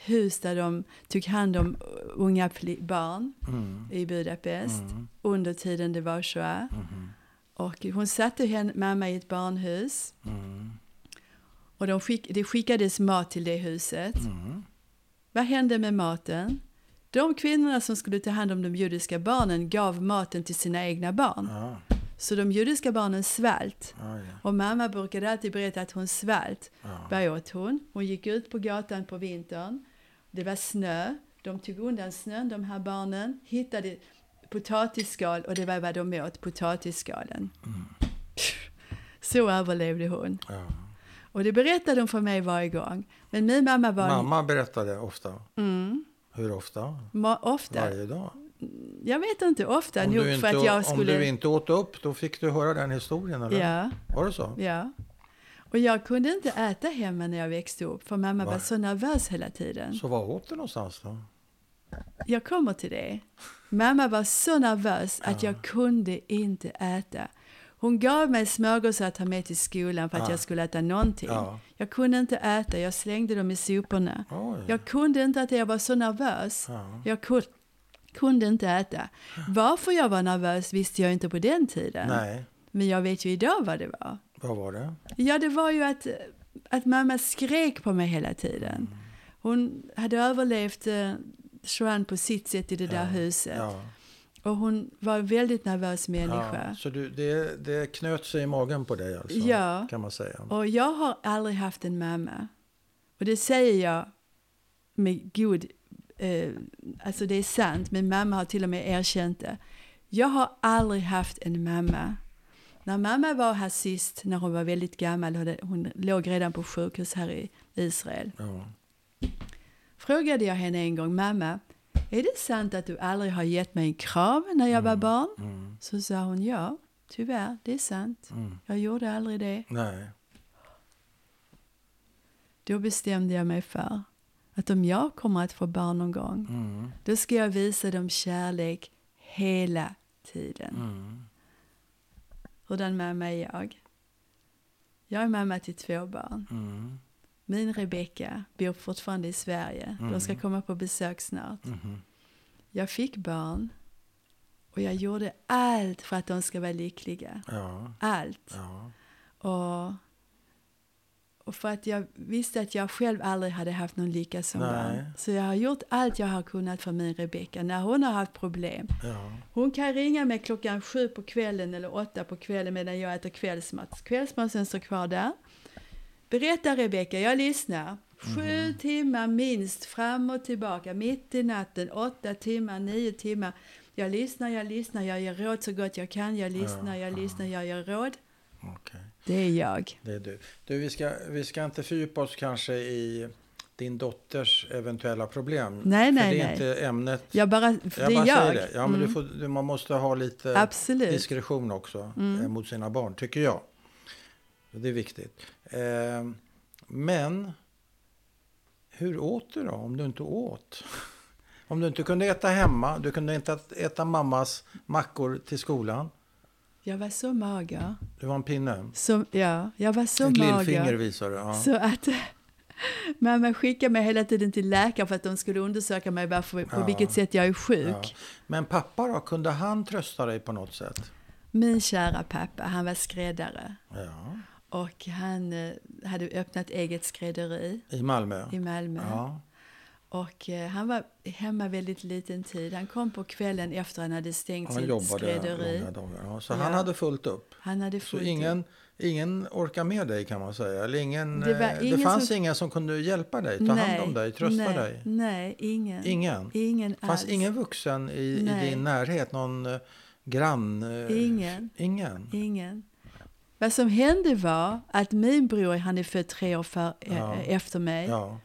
hus där de tog hand om unga pli- barn
Mm.
i Budapest
Mm.
under tiden det var Shoah.
Mhm.
Och hon satte henne, mamma i ett barnhus
Mm.
och de skick, det skickades mat till det huset.
Mm.
Vad hände med maten? De kvinnorna som skulle ta hand om de judiska barnen gav maten till sina egna barn.
Ja,
Så de judiska barnen svält.
ja, ja.
Och mamma brukade alltid berätta att hon svält.
ja.
Vad åt hon? Hon gick ut på gatan på vintern. Det var snö. De tog undan snön, de här barnen. Hittade potatisskal och det var vad de åt, potatisskalen.
Mm.
Så överlevde hon.
ja.
Och det berättade hon för mig varje gång. Men min mamma var...
Mamma berättade ofta.
Mm,
Hur ofta?
ma- ofta.
Varje dag.
Jag vet inte ofta
Om du,
nog för
inte,
att jag
om
skulle...
du inte åt upp, då fick du höra den historien, eller?
Ja,
Var det så?
ja. Och jag kunde inte äta hemma när jag växte upp för mamma var
Var?
så nervös hela tiden.
Så var åt du någonstans då?
Jag kommer till det. Mamma var så nervös att
Ah.
jag kunde inte äta. Hon gav mig smörgåsar att ta med till skolan för att
Ja.
jag skulle äta någonting.
Ah. Ja.
Jag kunde inte äta, jag slängde dem i soporna.
Oj.
Jag kunde inte äta, jag var så nervös.
Ja.
Jag ku- kunde inte äta. Varför jag var nervös visste jag inte på den tiden.
Nej,
Men jag vet ju idag vad det var.
vad var det?
Ja, det var ju att, att mamma skrek på mig hela tiden.
Mm.
Hon hade överlevt eh, Joanne på sitt sätt i det där huset.
Ja.
Och hon var en väldigt nervös människa.
Så du, det, det knöt sig i magen på dig alltså?
Ja.
Kan man säga.
Och jag har aldrig haft en mamma. Och det säger jag med god... Eh, alltså det är sant, min mamma har till och med erkänt det. Jag har aldrig haft en mamma. När mamma var här sist, när hon var väldigt gammal, hon, hon låg redan på sjukhus här i Israel.
Ja.
frågade jag henne en gång, mamma, är det sant att du aldrig har gett mig en kram när jag var barn?
Mm.
Så sa hon, ja, tyvärr, det är sant.
Mm.
Jag gjorde aldrig det.
Nej.
Då bestämde jag mig för att om jag kommer att få barn någon gång,
Mm.
då ska jag visa dem kärlek hela tiden.
Mm.
Hurdan mamma är jag? Jag är mamma till två barn.
Mm.
Min Rebecka bor fortfarande i Sverige. De
Mm.
ska komma på besök snart.
Mhm.
Jag fick barn och jag gjorde allt för att de ska vara lyckliga.
Ja.
Allt.
Ja.
Och, och för att jag visste att jag själv aldrig hade haft någon lycka som
Nej.
barn. Så jag har gjort allt jag har kunnat för min Rebecka när hon har haft problem.
Ja.
Hon kan ringa mig klockan sju på kvällen eller åtta på kvällen medan jag äter kvällsmat. Kvällsmaten står kvar där. Berätta Rebecka, jag lyssnar. Sju timmar minst fram och tillbaka, mitt i natten, åtta timmar, nio timmar. Jag lyssnar, jag lyssnar, jag ger råd så gott jag kan. Jag lyssnar, jag lyssnar, jag ger råd.
Okej.
Det är jag.
Det är du. Du, vi ska, vi ska inte fördjupa oss kanske i din dotters eventuella problem.
Nej,
För
nej,
det är
nej.
inte ämnet.
Jag bara,
Jag
det Mm. är
bara
jag.
säger det. Ja, men eh, du får, du, man måste ha lite
Absolut.
diskretion också
Mm.
eh, mot sina barn, tycker jag. Det är viktigt. Eh, men hur åt du då, om du inte åt? Om du inte kunde äta hemma, du kunde inte ät- äta mammas mackor till skolan.
Jag var så mager.
Du var en pinne.
Så, ja, jag var så
Ett
mager.
lillfinger visar du. Ja.
Så att mamma skickade mig hela tiden till läkare för att de skulle undersöka mig varför, på
Ja.
vilket sätt jag är sjuk.
Ja. Men pappa då, kunde han trösta dig på något sätt?
Min kära pappa, han var skräddare
Ja.
och han eh, hade öppnat eget skrädderi
I Malmö?
i Malmö.
Ja.
Och eh, han var hemma väldigt liten tid. Han kom på kvällen efter han hade stängt
Han
sitt
jobbade
skrädderi.
långa dagar. Ja. Så
Ja.
han hade fullt upp.
Han hade
Så
fullt upp.
ingen, ingen orkar med dig kan man säga. Eller ingen,
Det
det,
var ingen
det fanns
som-
ingen som kunde hjälpa dig, ta hand om dig, trösta
nej,
dig.
Nej, ingen.
Ingen.
Ingen
fanns
alls.
ingen vuxen i, i
Nej.
din närhet, någon eh, grann? eh,
Ingen.
Ingen.
Ingen. Vad som hände var att min bror, han är född tre år för,
Ja.
eh, efter mig.
Ja.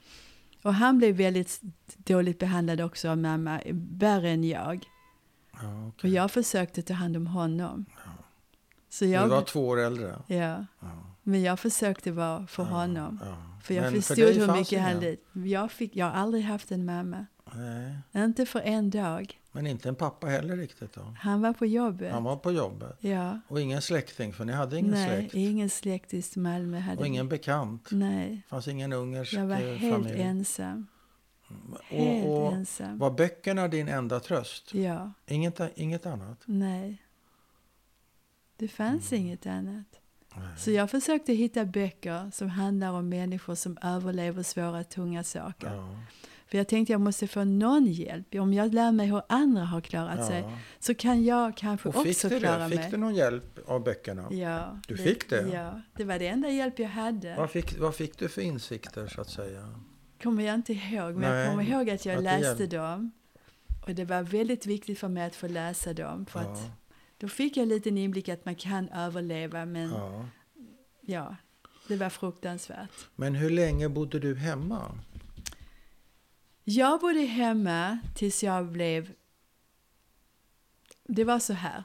Och han blev väldigt dåligt behandlad också av mamma, värre än jag.
Ja,
Och
okay.
jag försökte ta hand om honom. Så
Du
jag,
var två år äldre.
ja,
Ja.
men jag försökte vara för honom.
Ja.
För jag
Men
förstod
dig
hur
fanns
mycket han
ingen.
led. Jag, fick, jag har aldrig haft en mamma.
Nej.
Inte för en dag.
Men inte en pappa heller riktigt då?
Han var på jobbet.
Han var på jobbet.
Ja.
Och ingen släkting, för ni hade ingen
Nej,
släkt.
ingen släkt i Malmö hade
Och ingen bekant.
vi. Nej,
Det fanns ingen ungersk
jag var
eh,
helt
familj.
ensam. Helt
och, och
ensam.
var böckerna din enda tröst?
Ja,
Inget, inget annat?
nej. Det fanns inget annat.
Mm. Nej.
Så jag försökte hitta böcker som handlar om människor som överlever svåra, tunga saker.
Ja.
För jag tänkte jag måste få någon hjälp. Om jag lär mig hur andra har klarat sig
ja.
så kan jag kanske
Och fick
också
du
klara
det? Fick
mig.
du någon hjälp av böckerna?
Ja,
Du fick det?
Ja, det var det enda hjälp jag hade.
Vad, fick, vad fick du för insikter så att säga?
kommer jag inte ihåg, men
Nej,
jag kommer ihåg att jag
att det
läste
hjälpte.
dem. Och det var väldigt viktigt för mig att få läsa dem. För
Ja.
att då fick jag en liten inblick att man kan överleva, men ja,
Ja.
det var fruktansvärt.
Men hur länge bodde du hemma?
Jag bodde hemma tills jag blev... Det var så här.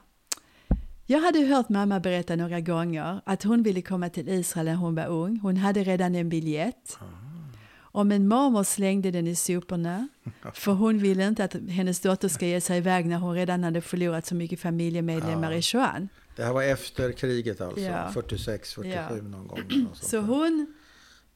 Jag hade hört mamma berätta några gånger att hon ville komma till Israel när hon var ung. Hon hade redan en biljett. Och min mormor slängde den i soporna. För hon ville inte att hennes dotter ska ge sig iväg när hon redan hade förlorat så mycket familjemedlemmar
Ja.
i Shoan.
Det här var efter kriget alltså,
Ja.
46, 47
Ja.
någon gång. eller något sånt
Så
där.
hon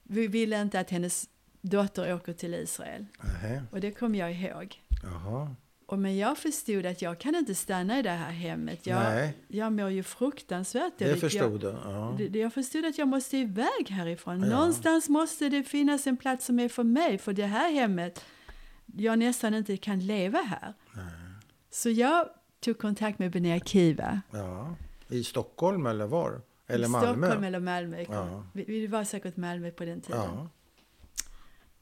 vi- ville inte att hennes dotter åker till Israel.
Nähä,
Och det kom jag ihåg.
Jaha.
Och men jag förstod att jag kan inte stanna i det här hemmet. Jag,
Nej.
jag mår ju fruktansvärt
Det
dåligt.
förstod du?
jag,
Ja.
det- det- jag förstod att jag måste iväg härifrån.
Ja.
Någonstans måste det finnas en plats som är för mig, för det här hemmet, jag nästan inte kan leva här. Så jag tog kontakt med Benea Kiva.
ja. I Stockholm eller var? Eller Malmö?
Stockholm eller Malmö.
Ja.
Vi, vi var säkert Malmö på den tiden.
ja.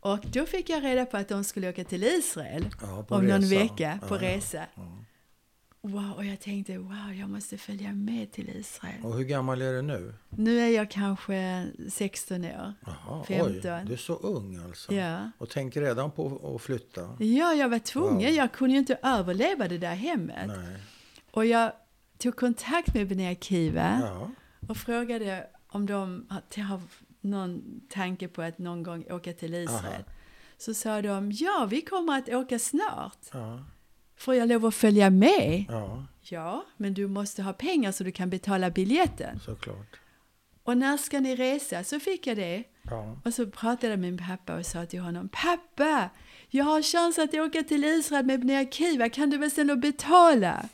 Och då fick jag reda på att de skulle åka till Israel
Ja, på
om någon
resa.
vecka på
Ja, ja.
resa. Wow, och jag tänkte wow, jag måste följa med till Israel.
Och hur gammal är du nu?
Nu är jag kanske 16 år.
Jaha, oj,
15.
du är så ung alltså.
Ja.
Och tänker redan på att flytta.
Ja, jag var tvungen.
Wow.
Jag kunde ju inte överleva det där hemmet.
Nej.
Och jag tog kontakt med Benea Kiva
Ja.
och frågade om de har, har någon tanke på att någon gång åka till Israel.
Aha.
Så sa de, ja, vi kommer att åka snart.
Ja.
Får jag lov att följa med?
ja,
Ja, men du måste ha pengar så du kan betala biljetten.
såklart.
Och när ska ni resa? Så fick jag det.
Ja.
Och så pratade jag med min pappa och sa till honom, pappa, jag har chans att åka till Israel med Bnei Akiva, kan du väl snälla betala?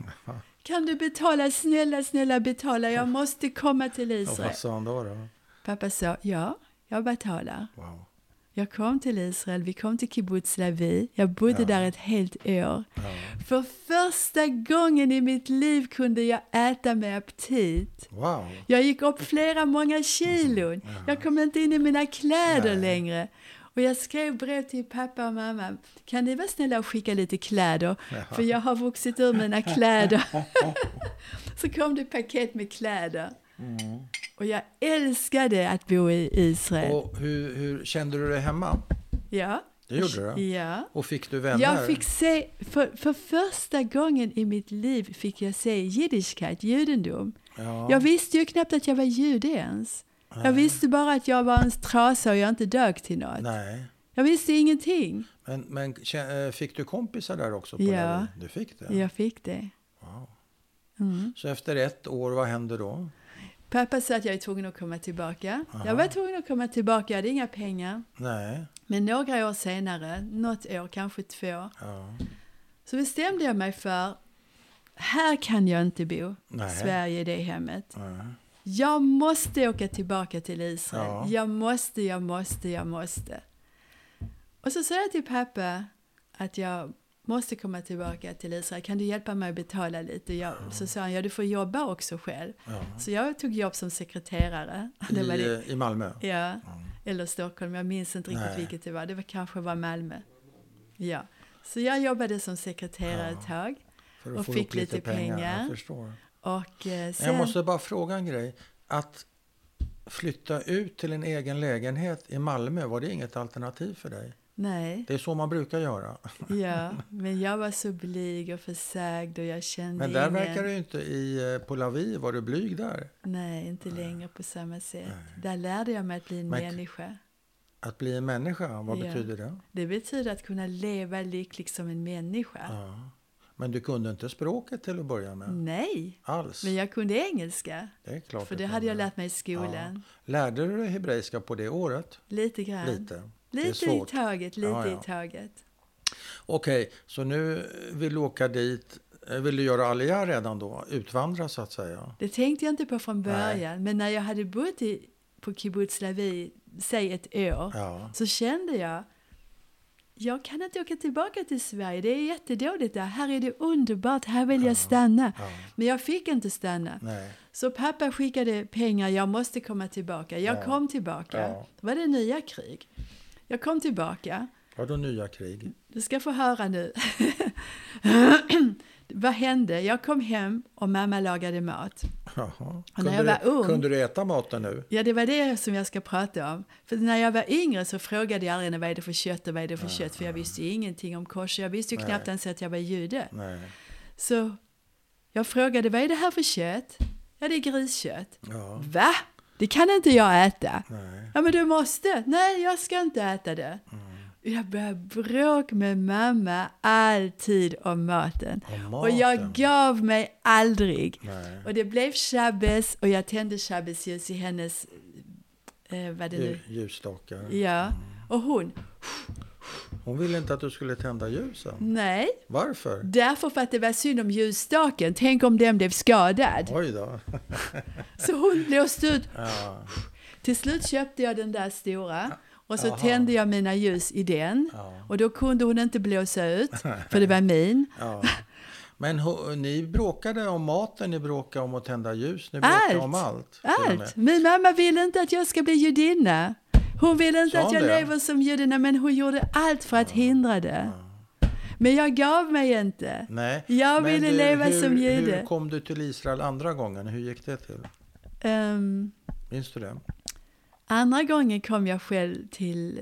Kan du betala, snälla, snälla betala, jag måste komma till
Och
Israel.
vad sa han då? då?
Pappa sa, ja, jag betalar.
Wow.
Jag kom till Israel, vi kom till kibbutz Lavi, jag bodde där ett helt år. För första gången i mitt liv kunde jag äta med aptit.
Wow.
Jag gick upp flera många kilon. Jag kom inte in i mina kläder
Nej.
längre. Och jag skrev brev till pappa och mamma. Kan ni vara snälla och skicka lite kläder? För jag har vuxit ur mina kläder. Så kom det paket med kläder. Och jag älskade att bo i Israel.
Mm. Och hur, hur kände du dig hemma?
ja.
Det gjorde du?
Ja.
Och fick du vänner?
Jag fick se, för, för första gången i mitt liv fick jag se jiddischkeit, judendom.
Ja.
Jag visste ju knappt att jag var jude ens. Jag visste bara att jag var en trasa och jag inte dög till något.
Nej.
Jag visste ingenting.
Men, men kä- eh, fick du kompisar där också? På
Ja.
Lärarö? Du fick det?
Jag fick det.
Wow. Så efter ett år, vad hände då?
Pappa sa att jag är tvungen att komma tillbaka. Jag var tvungen att komma tillbaka, jag hade inga pengar.
Nej.
Men några år senare, något år, kanske två,
Ja.
så bestämde jag mig för här kan jag inte bo.
Nej.
Sverige är det hemmet.
Ja.
Jag måste åka tillbaka till Israel.
Ja.
Jag måste, jag måste, jag måste. Och så sa jag till pappa att jag måste komma tillbaka till Israel. Kan du hjälpa mig att betala lite? Jag, Så sa han, ja du får jobba också själv.
Ja.
Så jag tog jobb som sekreterare. Det var det.
I, I Malmö?
Ja. Eller Stockholm, jag minns inte riktigt
Nej.
vilket det var. Det var, kanske var Malmö. Ja. Så jag jobbade som sekreterare
Ja.
ett tag.
För att
Och
få
fick
ihop lite
lite
pengar. Jag
pengar.
förstår.
Och eh, sen...
Men Jag måste bara fråga en grej. Att flytta ut till en egen lägenhet i Malmö, var det inget alternativ för dig?
Nej.
Det är så man brukar göra.
Ja, men jag var så blyg och försagd och jag kände
Men där
ingen...
verkar du ju inte i, eh, på Lavi, var du blyg där?
Nej, inte längre på samma sätt. Där lärde jag mig att bli en
Men-
människa.
Att bli en människa, vad
Ja.
betyder det?
Det betyder att kunna leva lycklig som en människa.
Ja. Men Men du kunde inte språket till att börja med?
Nej,
Alls?
men jag kunde engelska.
Det är klart
För
du
det hade jag
kunde.
lärt mig i skolan.
Lärde du dig hebreiska på det året?
Lite grann.
Lite. Det är
Lite i
svårt.
taget, lite
Ja, ja.
i taget.
Okej, så nu vill du åka dit. eh, Vill du göra aliyah redan då? Utvandra så att säga?
Det tänkte jag inte på
Nej.
från början. Men när jag hade bott i, på kibbutz Lavi, säg ett år,
Ja.
så kände jag jag kan inte åka tillbaka till Sverige, det är jättedåligt där. Här är det underbart, här vill jag stanna.
Ja.
Men jag fick inte stanna.
Nej.
Så pappa skickade pengar, jag måste komma tillbaka. Jag
Ja.
kom tillbaka.
Ja.
Då var det nya krig. Jag kom tillbaka.
Vadå nya krig?
Du ska få höra nu. Vad hände? Jag kom hem och mamma lagade mat.
Jaha.
Och
Kunde,
när jag var
du,
ung-
kunde du äta maten nu?
Ja, det var det som jag ska prata om. För när jag var yngre så frågade jag aldrig henne, vad är det för kött och vad är det för kött? För jag visste ju ingenting om kors. Jag visste ju
Nej.
knappt ens att jag var jude.
Nej.
Så jag frågade, vad är det här för kött? Ja, det är griskött.
Ja.
Va? Det kan inte jag äta.
Nej.
Ja, men du måste. Nej, jag ska inte äta det.
Mm.
Jag började bråk med mamma alltid om maten.
Om
Och
maten.
jag gav mig aldrig.
Nej.
Och det blev shabbes och jag tände shabbesljus i hennes... Eh, vad det nu...
Lju- Ljusstakar.
Ja. Och hon,
Hon ville inte att du skulle tända ljusen.
nej.
Varför?
Därför för att det var synd om ljusstaken. Tänk om den blev skadad.
Oj då.
Så hon blåste ut.
Ja.
Till slut köpte jag den där stora. Och så
Jaha.
tände jag mina ljus i den.
Ja.
Och då kunde hon inte blåsa ut, för det var min.
Ja. Men ho- ni bråkade om maten, ni bråkade om att tända ljus, ni bråkade
Allt!
om allt. till och med.
Allt! Min mamma ville inte att jag ska bli judinna. Hon ville inte
Sa
att
hon
jag
det? Ah.
lever som judinna, men hon gjorde allt för att hindra det. Men jag gav mig inte.
Nej.
Jag
men
ville
du,
leva
hur,
som jude.
Hur kom du till Israel andra gången? Hur gick det till?
Ehm,
Minns du det?
andra gången kom jag själv till,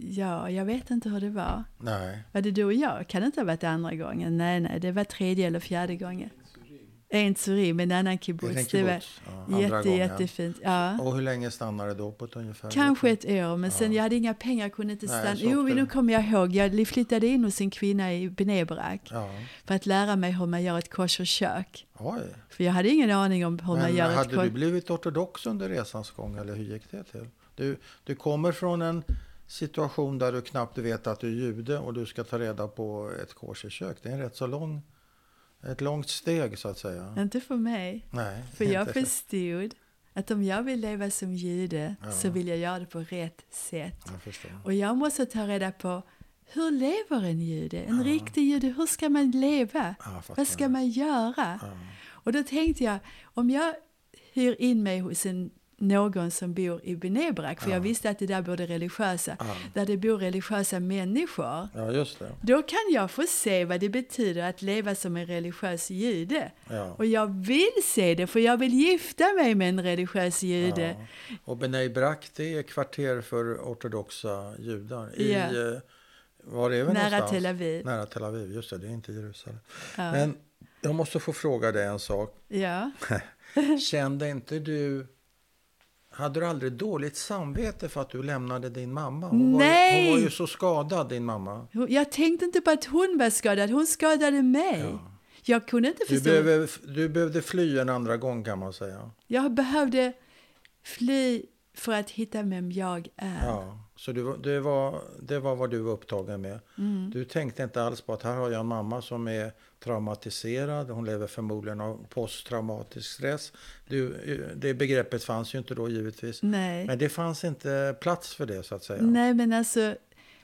ja, jag vet inte hur det var.
Nej.
Var det du och jag? Kan det inte ha varit andra gången? Nej, nej, det var tredje eller fjärde gången. En surim, en annan
Det är en
kibbutz. Det var
kibbutz. Ja, andra
jätte,
gången.
jättefint. Ja.
Och hur länge stannade det då på ett ungefär?
Kanske ett år, men sen jag hade inga pengar, kunde inte
Nej,
stanna.
så
Jo,
åkte
nu
du.
kommer jag ihåg, jag flyttade in hos en kvinna i Benebrack
Ja.
för att lära mig hur man gör ett kosherkök.
Oj.
För jag hade ingen aning om hur man
Men
gör ett
hade du
kosher...
blivit ortodox under resans gång eller hur gick det till? Du, du kommer från en situation där du knappt vet att du är jude och du ska ta reda på ett kosherkök. Det är en rätt så lång, ett långt steg så att säga.
Inte för mig,
Nej,
för jag
inte.
förstod att om jag vill leva som jude så vill jag göra det på rätt sätt.
jag förstår.
Och jag måste ta reda på hur lever en jude? En riktig jude, hur ska man leva?
Ja, jag fattar.
Vad ska man göra? Och då tänkte jag, om jag hyr in mig hos en, någon som bor i Benebrak, för jag visste att det där bor det religiösa, där det bor religiösa människor,
Ja, just det.
då kan jag få se vad det betyder att leva som en religiös jude.
Ja.
Och jag vill se det, för jag vill gifta mig med en religiös jude.
Ja. Och Bnei Brak, det är kvarter för ortodoxa judar. I,
Ja.
eh, Var är vi
Nära
någonstans?
Tel Aviv.
Nära Tel Aviv, just det. Det är inte Jerusalem.
Ja.
Men jag måste få fråga dig en sak.
Ja.
Kände inte du... Hade du aldrig dåligt samvete för att du lämnade din mamma? Hon, Var, ju,
Nej!
hon var ju så skadad, din mamma.
Hon- Jag tänkte inte på att hon var skadad, hon skadade mig. Jag kunde inte
Du,
förstå.
behöver, du behövde fly en andra gång kan man säga.
Jag behövde fly för att hitta vem jag är.
Ja, så du, var- det, var, det var vad du var upptagen med.
Mm.
Du tänkte inte alls på att här har jag en mamma som är traumatiserad. Hon lever förmodligen av posttraumatisk stress. Du, det begreppet fanns ju inte då givetvis.
Nej.
Men det fanns inte plats för det så att säga.
nej, men alltså,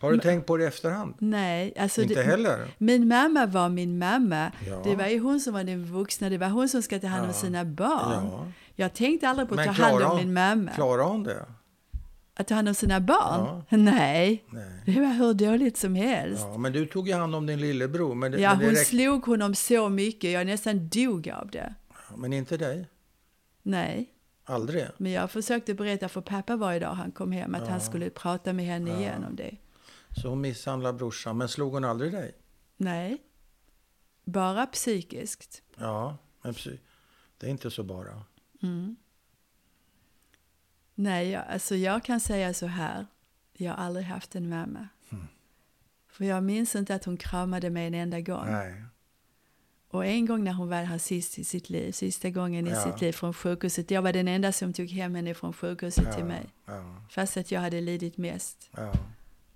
Har du tänkt på det i efterhand?
nej. Alltså,
inte
det-
heller?
Min mamma var min mamma.
Ja.
Det var ju hon som var den vuxna, det var hon som ska ta hand om
Ja.
sina barn.
Ja.
Jag tänkte aldrig på att ta
Men
hand
klarar
om
hon,
min mamma.
klarar hon det?
Att ta hand om sina barn? Nej.
Nej.
Det var hur dåligt som helst.
Ja, men du tog ju hand om din lillebror. Men, det,
Ja,
men, det
hon
räck-
slog honom så mycket, jag nästan dog av det.
men inte dig?
Nej.
Aldrig?
Men jag försökte berätta för pappa varje dag han kom hem att han skulle prata med henne igen om det.
Så hon misshandlade brorsan, men slog hon aldrig dig?
Nej. Bara psykiskt.
Ja, men psy- det är inte så bara.
Nej, jag, alltså jag kan säga så här. Jag har aldrig
Hmm.
haft en mamma. För jag minns inte att hon kramade mig en enda gång.
Nej.
Och en gång när hon var här sist i sitt liv, sista gången i
Ja.
sitt liv från sjukhuset, jag var den enda som tog hem henne från sjukhuset till mig,
ja,
fast att jag hade lidit mest.
ja.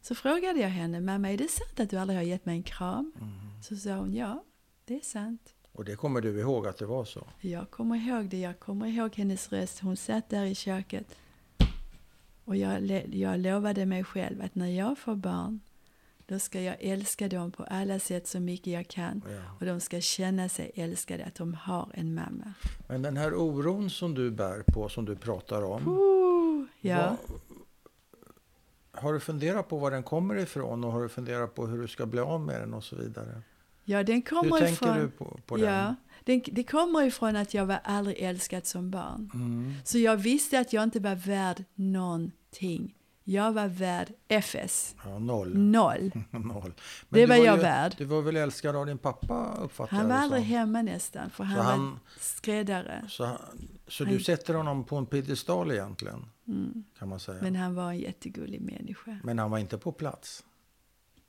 Så frågade jag henne, mamma är det sant att du aldrig har gett mig en kram?
Mm.
Så sa hon, ja, det är sant.
Och det kommer du ihåg att det var så?
Jag kommer ihåg det, jag kommer ihåg hennes röst. Hon satt där i köket. Och jag, le- jag lovade mig själv att när jag får barn, då ska jag älska dem på alla sätt så mycket jag kan.
Ja.
Och de ska känna sig älskade, att de har en mamma.
Men den här oron som du bär på, som du pratar om.
Ooh, ja.
vad- har du funderat på var den kommer ifrån och har du funderat på hur du ska bli av med den och så vidare?
ja, den
Hur
kommer
tänker
ifrån...
du på, på
ja, den, det kommer ifrån att jag var aldrig älskad som barn.
den? Mm.
Så jag visste att jag inte var värd någonting. Jag var värd FS.
Ja, noll.
Noll.
noll.
Mm. Det
du
var jag
ju,
värd.
Du var väl älskad av din pappa uppfattar
Han var
jag det
aldrig
som.
hemma nästan, för
Så
han, var
han-
skräddare.
Så, han- så du sätter honom på en piedestal egentligen? Kan man säga.
Mm. Men
Men,
han var en jättegullig människa.
han var inte på plats.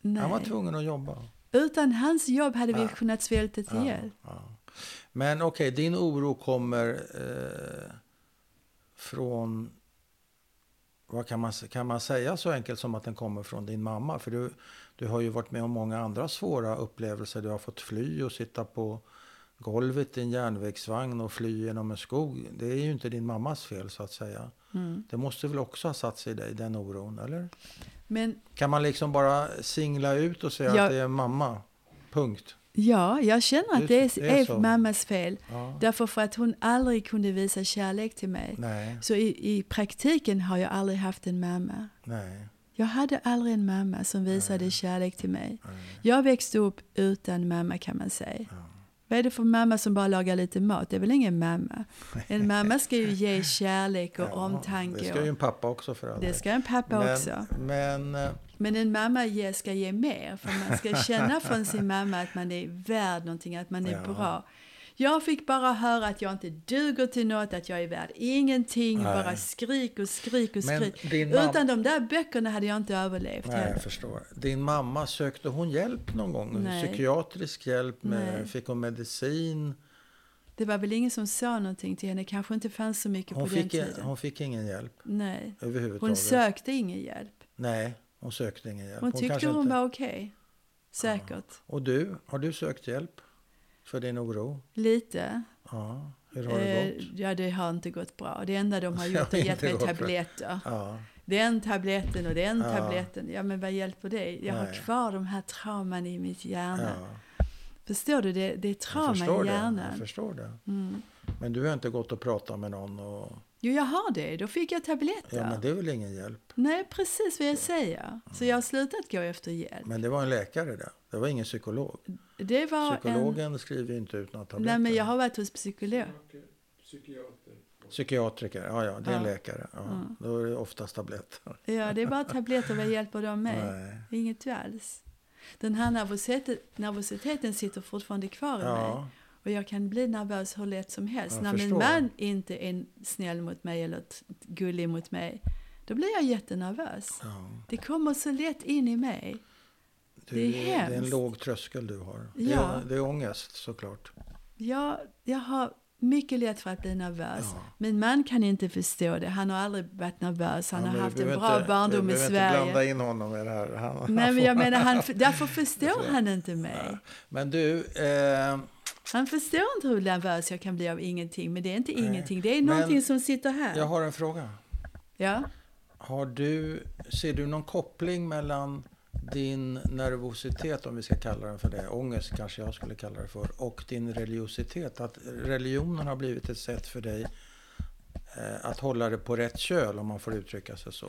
Nej.
Mm. Han var tvungen att jobba.
Utan hans jobb hade vi
Ja.
kunnat svälta ihjäl.
Ja. Men okej, din oro kommer eh, från... Vad kan, man, kan man säga så enkelt som att den kommer från din mamma? För du, du har ju varit med om många andra svåra upplevelser. Du har fått fly och sitta på golvet i en järnvägsvagn och fly genom en skog. Det är ju inte din mammas fel så att säga.
Mm.
Det måste väl också ha satt sig i dig, den oron, eller?
Men
Kan man liksom bara singla ut och säga
Ja.
att det är mamma? Punkt.
ja, jag känner att det
Det-
är,
det är
är
så.
mammas fel.
Ja.
Därför för att hon aldrig kunde visa kärlek till mig.
Nej,
Så i, i praktiken har jag aldrig haft en mamma.
nej.
Jag hade aldrig en mamma som visade kärlek till mig. Jag växte upp utan mamma kan man säga. Vad är det för mamma som bara lagar lite mat? Det är väl ingen mamma? En mamma ska ju ge kärlek och
Ja,
omtanke.
Det ska ju en
och,
pappa också för all
det
del.
ska en pappa
men,
också.
Men, eh,
Men en mamma ge, ska ge mer. För man ska känna från sin mamma att man är värd någonting, att man är
Ja.
bra. Jag fick bara höra att jag inte duger till något, att jag är värd ingenting.
Nej.
Bara skrik och skrik och
Men
skrik.
din mam-
Utan de där böckerna hade jag inte överlevt.
nej,
heller.
jag förstår. Din mamma, sökte hon hjälp någon gång?
Nej.
Psykiatrisk hjälp? Med,
Nej.
Fick hon medicin?
Det var väl ingen som sa någonting till henne. kanske inte fanns så mycket
Hon
på den
fick,
tiden.
hon fick ingen hjälp
Nej.
överhuvudtaget?
Hon sökte ingen hjälp.
Nej, hon sökte ingen hjälp.
Hon tyckte
kanske
hon,
inte-
var okej. Säkert.
Och du, har du sökt hjälp för din oro?
Lite.
Ja, hur har det
Eh,
gått?
ja, det har inte gått bra. Det enda de har gjort är
har
gett
inte
mig
gått bra.
tabletter.
Ja,
Den tabletten och den
Ja.
tabletten. Ja, men vad hjälper det? Jag har
Nej.
kvar de här trauman i mitt hjärna.
ja.
Förstår du? Det, det är
Jag
trauma
förstår
i
det. Jag
hjärnan. Mm.
förstår det. Men du har inte gått och pratat med någon? Och,
jo, jag har det. Då fick jag tabletter.
ja, men det är väl ingen hjälp?
Nej, precis vad jag säger. Så jag har slutat gå efter hjälp.
Men det var en läkare där. Det var ingen psykolog.
Det var en...
Psykologen skriver ju inte ut några tabletter.
Nej, men jag har varit hos psykolog.
Psykiater.
Psykiatriker, ja ja, det är en
Ja.
läkare. Ja. Då är det oftast tabletter.
Ja, det är bara tabletter. Vad hjälper de med?
Nej.
Inget alls. Den här nervositeten, nervositeten sitter fortfarande kvar i mig.
Ja,
Och jag kan bli nervös hur lätt som helst.
Jag
När min
förstår.
man inte är snäll mot mig eller t- gullig mot mig, då blir jag jättenervös.
ja.
Det kommer så lätt in i mig.
Du,
Det är
det är en
hemskt.
låg tröskel du har.
Ja.
Det, är, det är ångest såklart.
Jag, jag har mycket lätt för att bli nervös.
Ja.
Min man kan inte förstå det. Han har aldrig varit nervös. Han
Ja, men
har
vi
haft en
behöver
bra
inte-
barndom
vi
i
behöver
Sverige.
inte blanda in honom i det här. Han,
Nej,
han
men
får-
jag menar, han, därför förstår han inte mig.
Men du, eh,
Han förstår inte hur nervös jag kan bli av ingenting. Men det är inte
Nej.
ingenting, det är
Men-
någonting som sitter här.
jag har en fråga.
Ja.
Har du, ser du någon koppling mellan din nervositet, om vi ska kalla den för det, ångest kanske jag skulle kalla det för, och din religiositet? Att religionen har blivit ett sätt för dig eh, att hålla det på rätt köl, om man får uttrycka sig så.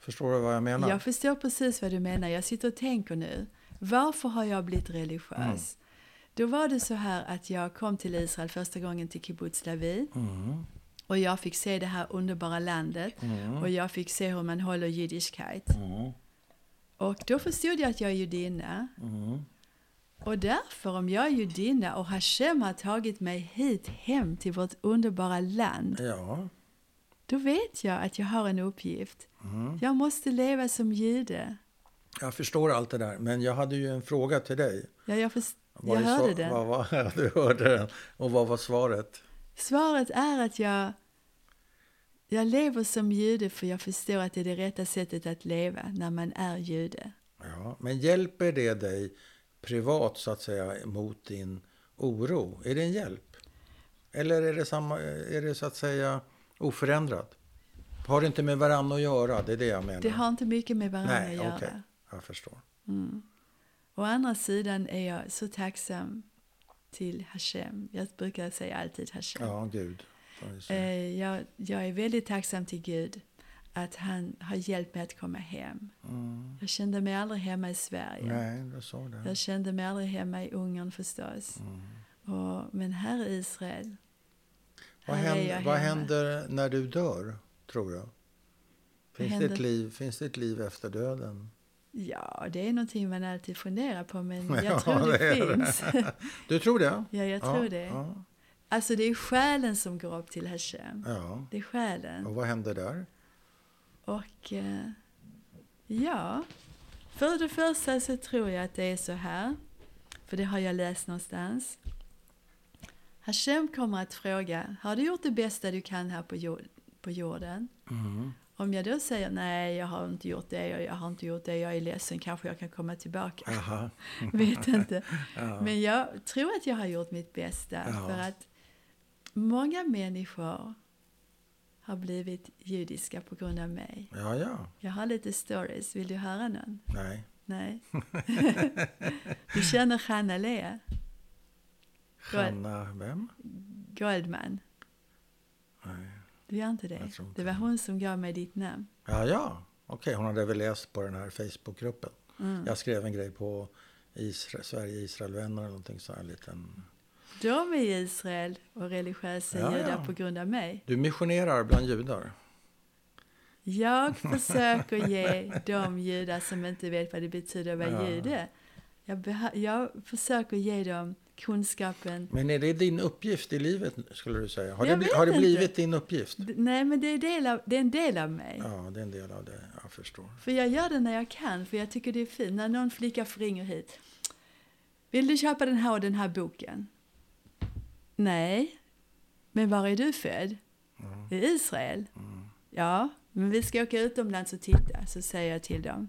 Förstår du vad jag menar?
Jag förstår precis vad du menar. Jag sitter och tänker nu. Varför har jag blivit religiös?
Mm.
Då var det så här att jag kom till Israel första gången till kibbutz Lavi.
Mm.
Och jag fick se det här underbara landet.
Mm.
Och jag fick se hur man håller jiddischkeit. Och då förstod jag att jag är judinna.
Mm.
Och därför, om jag är judinna och Hashem har tagit mig hit hem till vårt underbara land
Ja,
då vet jag att jag har en uppgift.
Mm.
Jag måste leva som jude.
jag förstår allt det där. Men jag hade ju en fråga till dig.
Ja, jag förstår.
Vad
Jag
är
hörde den.
Vad var, ja, du hörde den. Och vad var svaret?
Svaret är att jag, jag lever som jude för jag förstår att det är det rätta sättet att leva när man är jude.
Ja, men hjälper det dig privat så att säga mot din oro? Är det en hjälp? Eller är det, samma, är det så att säga oförändrat? Har det inte med varandra att göra? Det är det jag menar.
Det har inte mycket med varandra
Nej,
att göra.
okej. Jag förstår.
Å andra sidan är jag så tacksam till Hashem. Jag brukar säga alltid Hashem.
Ja, Gud. får vi säga.
Eh, jag, jag är väldigt tacksam till Gud att han har hjälpt mig att komma hem. Jag kände mig aldrig hemma i Sverige.
Mm. Nej, du sa det.
Jag kände mig aldrig hemma i Ungern förstås.
Mm.
Och, men här i Israel,
Vad
här är
händer,
jag
vad
hemma.
händer när du dör, tror du? Finns det,
händer?
ett liv, finns det ett liv efter döden?
ja det är någonting man alltid funderar på men
Ja,
jag tror det,
det är det.
finns.
Du tror det?
ja, jag tror det.
Ja,
Alltså det är själen som går upp till Hashem.
ja.
Det är själen.
Och vad händer där?
Och eh, ja, för det första så tror jag att det är så här, för det har jag läst någonstans. Hashem kommer att fråga, har du gjort det bästa du kan här på, jord, på jorden? Om jag då säger nej, jag har inte gjort det, och jag har inte gjort det, jag är ledsen, kanske jag kan komma tillbaka.
Aha.
Vet inte. Men jag tror att jag har gjort mitt bästa
Ja.
för att många människor har blivit judiska på grund av mig.
Ja, ja.
Jag har lite stories. Vill du höra någon?
Nej.
Nej. du känner Hanna Lea
Hanna, vem?
Goldman?
Nej.
Du gör inte det?
Jag tror inte
Det var hon som gav mig ditt namn.
Ja, ja. Okej, hon hade väl läst på den här Facebookgruppen.
Mm.
Jag skrev en grej på Isra- Sverige-Israel-vänner eller någonting så här liten.
De är i Israel och religiösa
Ja,
judar
ja.
på grund av mig.
Du missionerar bland judar.
Jag försöker ge de judar som inte vet vad det betyder att vara
Ja.
jude. Jag, beha- jag försöker ge dem kunskapen.
Men är det din uppgift i livet, skulle du säga? Har,
Jag
det, bli-
vet
har det
inte.
blivit din uppgift?
D- Nej, men det är, del av, det är en del av mig.
Ja, det är en del av det. Jag förstår.
För jag gör det när jag kan, för jag tycker det är fint. När någon flicka ringer hit. Vill du köpa den här och den här boken? Nej. Men var är du född?
Mm.
I Israel? Ja, men vi ska åka utomlands och titta. Så säger jag till dem.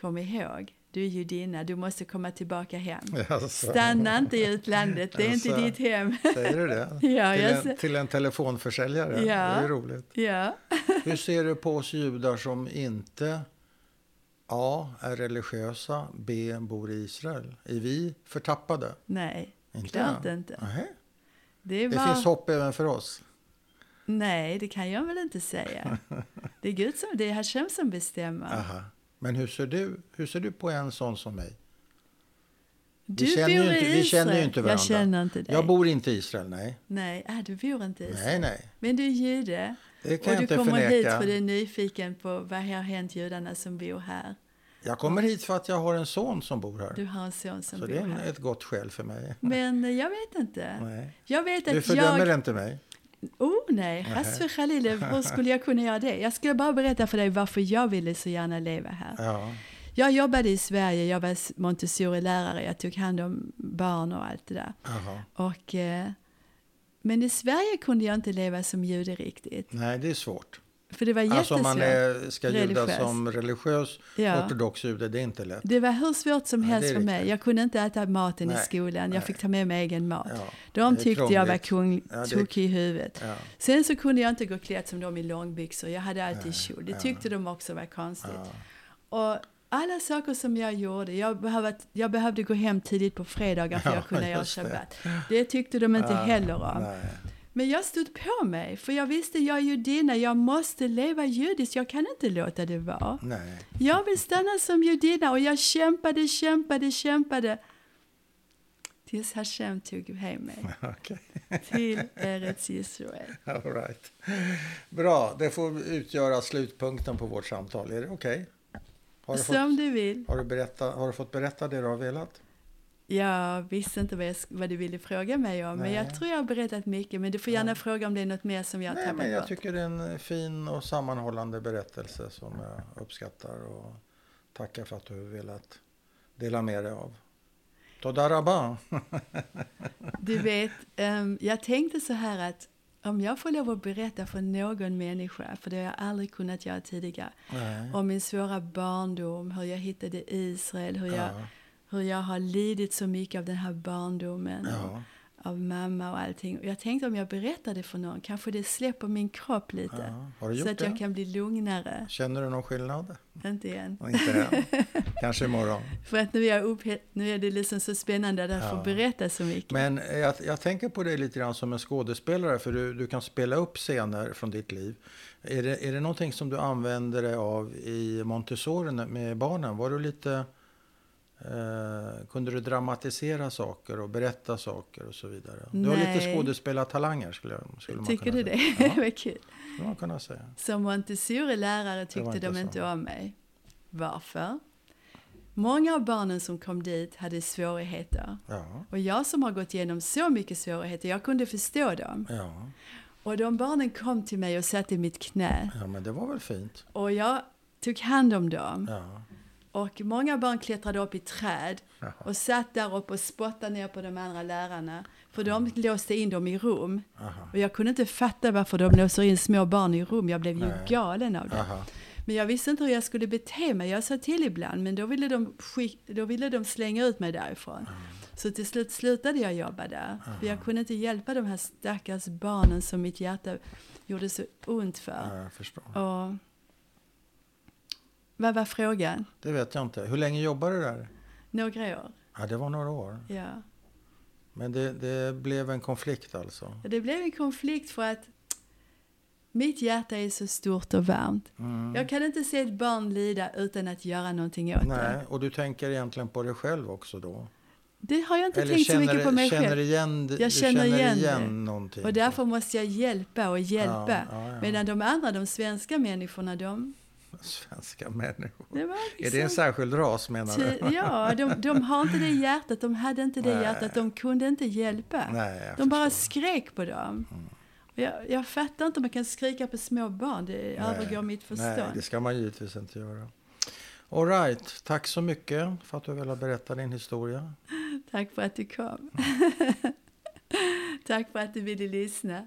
Kom ihåg, du är judinna, du måste komma tillbaka hem.
Jaså,
Stanna inte i utlandet, det är inte
Alltså.
ditt hem.
Säger du det?
Ja,
till,
jag
en,
ser-
till en telefonförsäljare?
Ja.
Det är ju roligt.
ja.
Hur ser du på oss judar som inte A. är religiösa, B. bor i Israel? Är vi förtappade?
Nej,
Inte?
klart inte.
Nej.
Det, är
Det
bara-
finns hopp även för oss.
Nej, det kan jag väl inte säga. Det är Gud som, det är Hashem som bestämmer.
Aha. Men hur ser, du, hur ser du på en sån som mig?
Du
vi känner,
bor
ju
i
inte, vi känner ju inte varandra.
Jag känner inte dig.
Jag bor inte i Israel, nej.
Nej, ah, du bor inte i Israel.
Nej, nej.
Men du är jude.
Det kan
och
jag
du
inte
kommer hit
förneka.
för du är nyfiken på vad har hänt judarna som bor här.
Jag kommer hit för att jag har en son som bor
Du
här.
har en son som
Så
bor
det är en-
här.
ett gott skäl för mig.
Men eh, jag vet inte.
Nej.
Jag vet
Du
att
fördömer
jag...
inte mig?
Oh nej, Hasfe Khalil, hur skulle jag kunna göra det? Jag skulle bara berätta för dig varför jag ville så gärna leva här.
Ja.
Jag jobbade i Sverige, jag var s- Montessori-lärare, jag tog hand om barn och allt det där.
Jaha.
Och, eh, men i Sverige kunde jag inte leva som jude riktigt.
Nej, det är svårt.
För det var
Alltså om
jättesvårt.
man är, ska juda
Religiös.
som religiös
Ja.
ortodox jude, det är inte lätt.
Det var hur svårt som
Ja, det
helst
är
för mig.
riktigt.
Jag kunde inte äta maten i
Nej,
skolan. Jag
nej.
fick ta med mig egen mat.
Ja,
De
det är
tyckte jag var
krångligt.
kung,
Ja, det är-
tokig i huvudet.
Ja.
Sen så kunde jag inte gå klädd som de i långbyxor. Jag hade alltid kjol. Det
ja.
tyckte de också var konstigt. Och alla saker som jag gjorde, jag behövde, jag behövde gå hem tidigt på fredagar för
Ja,
jag kunde göra
just det. Ah,
shabbat. Det tyckte de inte
Ja,
heller om.
Nej.
Men jag stod på mig, för jag visste jag är judinna, jag måste leva judiskt, jag kan inte låta det vara.
Nej.
Jag vill stanna som judinna och jag kämpade, kämpade, kämpade. Tills Hashem tog hem mig
Okej.
till Eretz Israel.
All right. Bra, det får utgöra slutpunkten på vårt samtal. Är det okej? Har, du
Som
fått-
du vill.
har, du berätta- har du fått berätta det du har velat?
Jag visste inte vad, jag, sk- vad du ville fråga mig om, men
Nej.
jag tror jag har berättat mycket. Men du får gärna fråga om det är något mer som jag har
Nej, men
tappat
jag
bort.
tycker det är en fin och sammanhållande berättelse som jag uppskattar och tackar för att du har velat dela med dig av. Todaraba.
Du vet, ehm, jag tänkte så här att om jag får lov att berätta för någon människa, för det har jag aldrig kunnat göra tidigare,
Nej.
om min svåra barndom, hur jag hittade Israel, hur jag,
Ja.
hur jag har lidit så mycket av den här barndomen,
Ja.
av mamma och allting. Och jag tänkte om jag berättade för någon, kanske det släpper min kropp lite.
Ja. Har du
så
gjort
att jag
det?
kan bli lugnare.
Känner du någon skillnad?
Inte än.
Och Inte än. Kanske imorgon.
För att nu är, jag upphe- nu är det liksom så spännande att jag
Ja.
får berätta så mycket.
Men eh, jag, jag tänker på dig lite grann som en skådespelare för du, du kan spela upp scener från ditt liv. Är det, är det någonting som du använder dig av i Montessori med barnen? Var du lite... Eh, kunde du dramatisera saker och berätta saker och så vidare? Du har lite
Nej.
skådespelartalanger skulle, jag- skulle man
Tycker
kunna
du det?
säga. Ja,
Vad kul.
skulle man kunna säga.
Som Montessori-lärare tyckte
inte
de
så.
inte om mig. Varför? Många av barnen som kom dit hade svårigheter.
Ja,
Och jag som har gått igenom så mycket svårigheter, jag kunde förstå dem.
ja,
Och de barnen kom till mig och satt i mitt knä.
ja, men det var väl fint.
Och jag tog hand om dem.
Ja,
Och många barn klättrade upp i träd
Jaha.
och satt där uppe och spottade ner på de andra lärarna. För de låste in dem i rum.
aha,
Och jag kunde inte fatta varför de låser in små barn i rum. Jag blev ju
Nej.
galen av det.
aha.
Men jag visste inte hur jag skulle bete mig. Jag sa till ibland, men då ville de, skick, då ville de slänga ut mig därifrån. Så till slut slutade jag jobba där. För jag kunde inte hjälpa de här stackars barnen som mitt hjärta gjorde så ont för.
Ja, jag förstår.
Och... Vad var frågan?
Det vet jag inte. Hur länge jobbade du där?
Några år?
Ja, det var några år.
Ja.
Men det, det blev en konflikt alltså?
Och Det blev en konflikt för att mitt hjärta är så stort och varmt.
Mm.
Jag kan inte se ett barn lida utan att göra någonting åt det.
Nej, och du tänker egentligen på dig själv också då?
Det har jag inte tänkt så
känner,
mycket på mig
känner
själv.
igen,
Jag känner
du känner
igen
igen
det.
någonting?
Och därför måste jag hjälpa och hjälpa.
Ja, ja, ja.
Medan de andra, de svenska människorna, de...
Svenska människor.
Det var
Är det en
liksom
särskild ras menar du?
ty- Ja, de, de har inte det hjärtat, de hade inte det
Nej.
hjärtat, de kunde inte hjälpa.
Nej, jag
de bara
förstår. Mm.
skrek på dem. Och Jag, jag fattar inte, man kan skrika på små barn, det övergår mitt förstånd.
Nej, det ska man givetvis inte göra. All right, tack så mycket för att du ville berätta din historia. Mm.
Tack för att du kom. Tack för att du ville lyssna.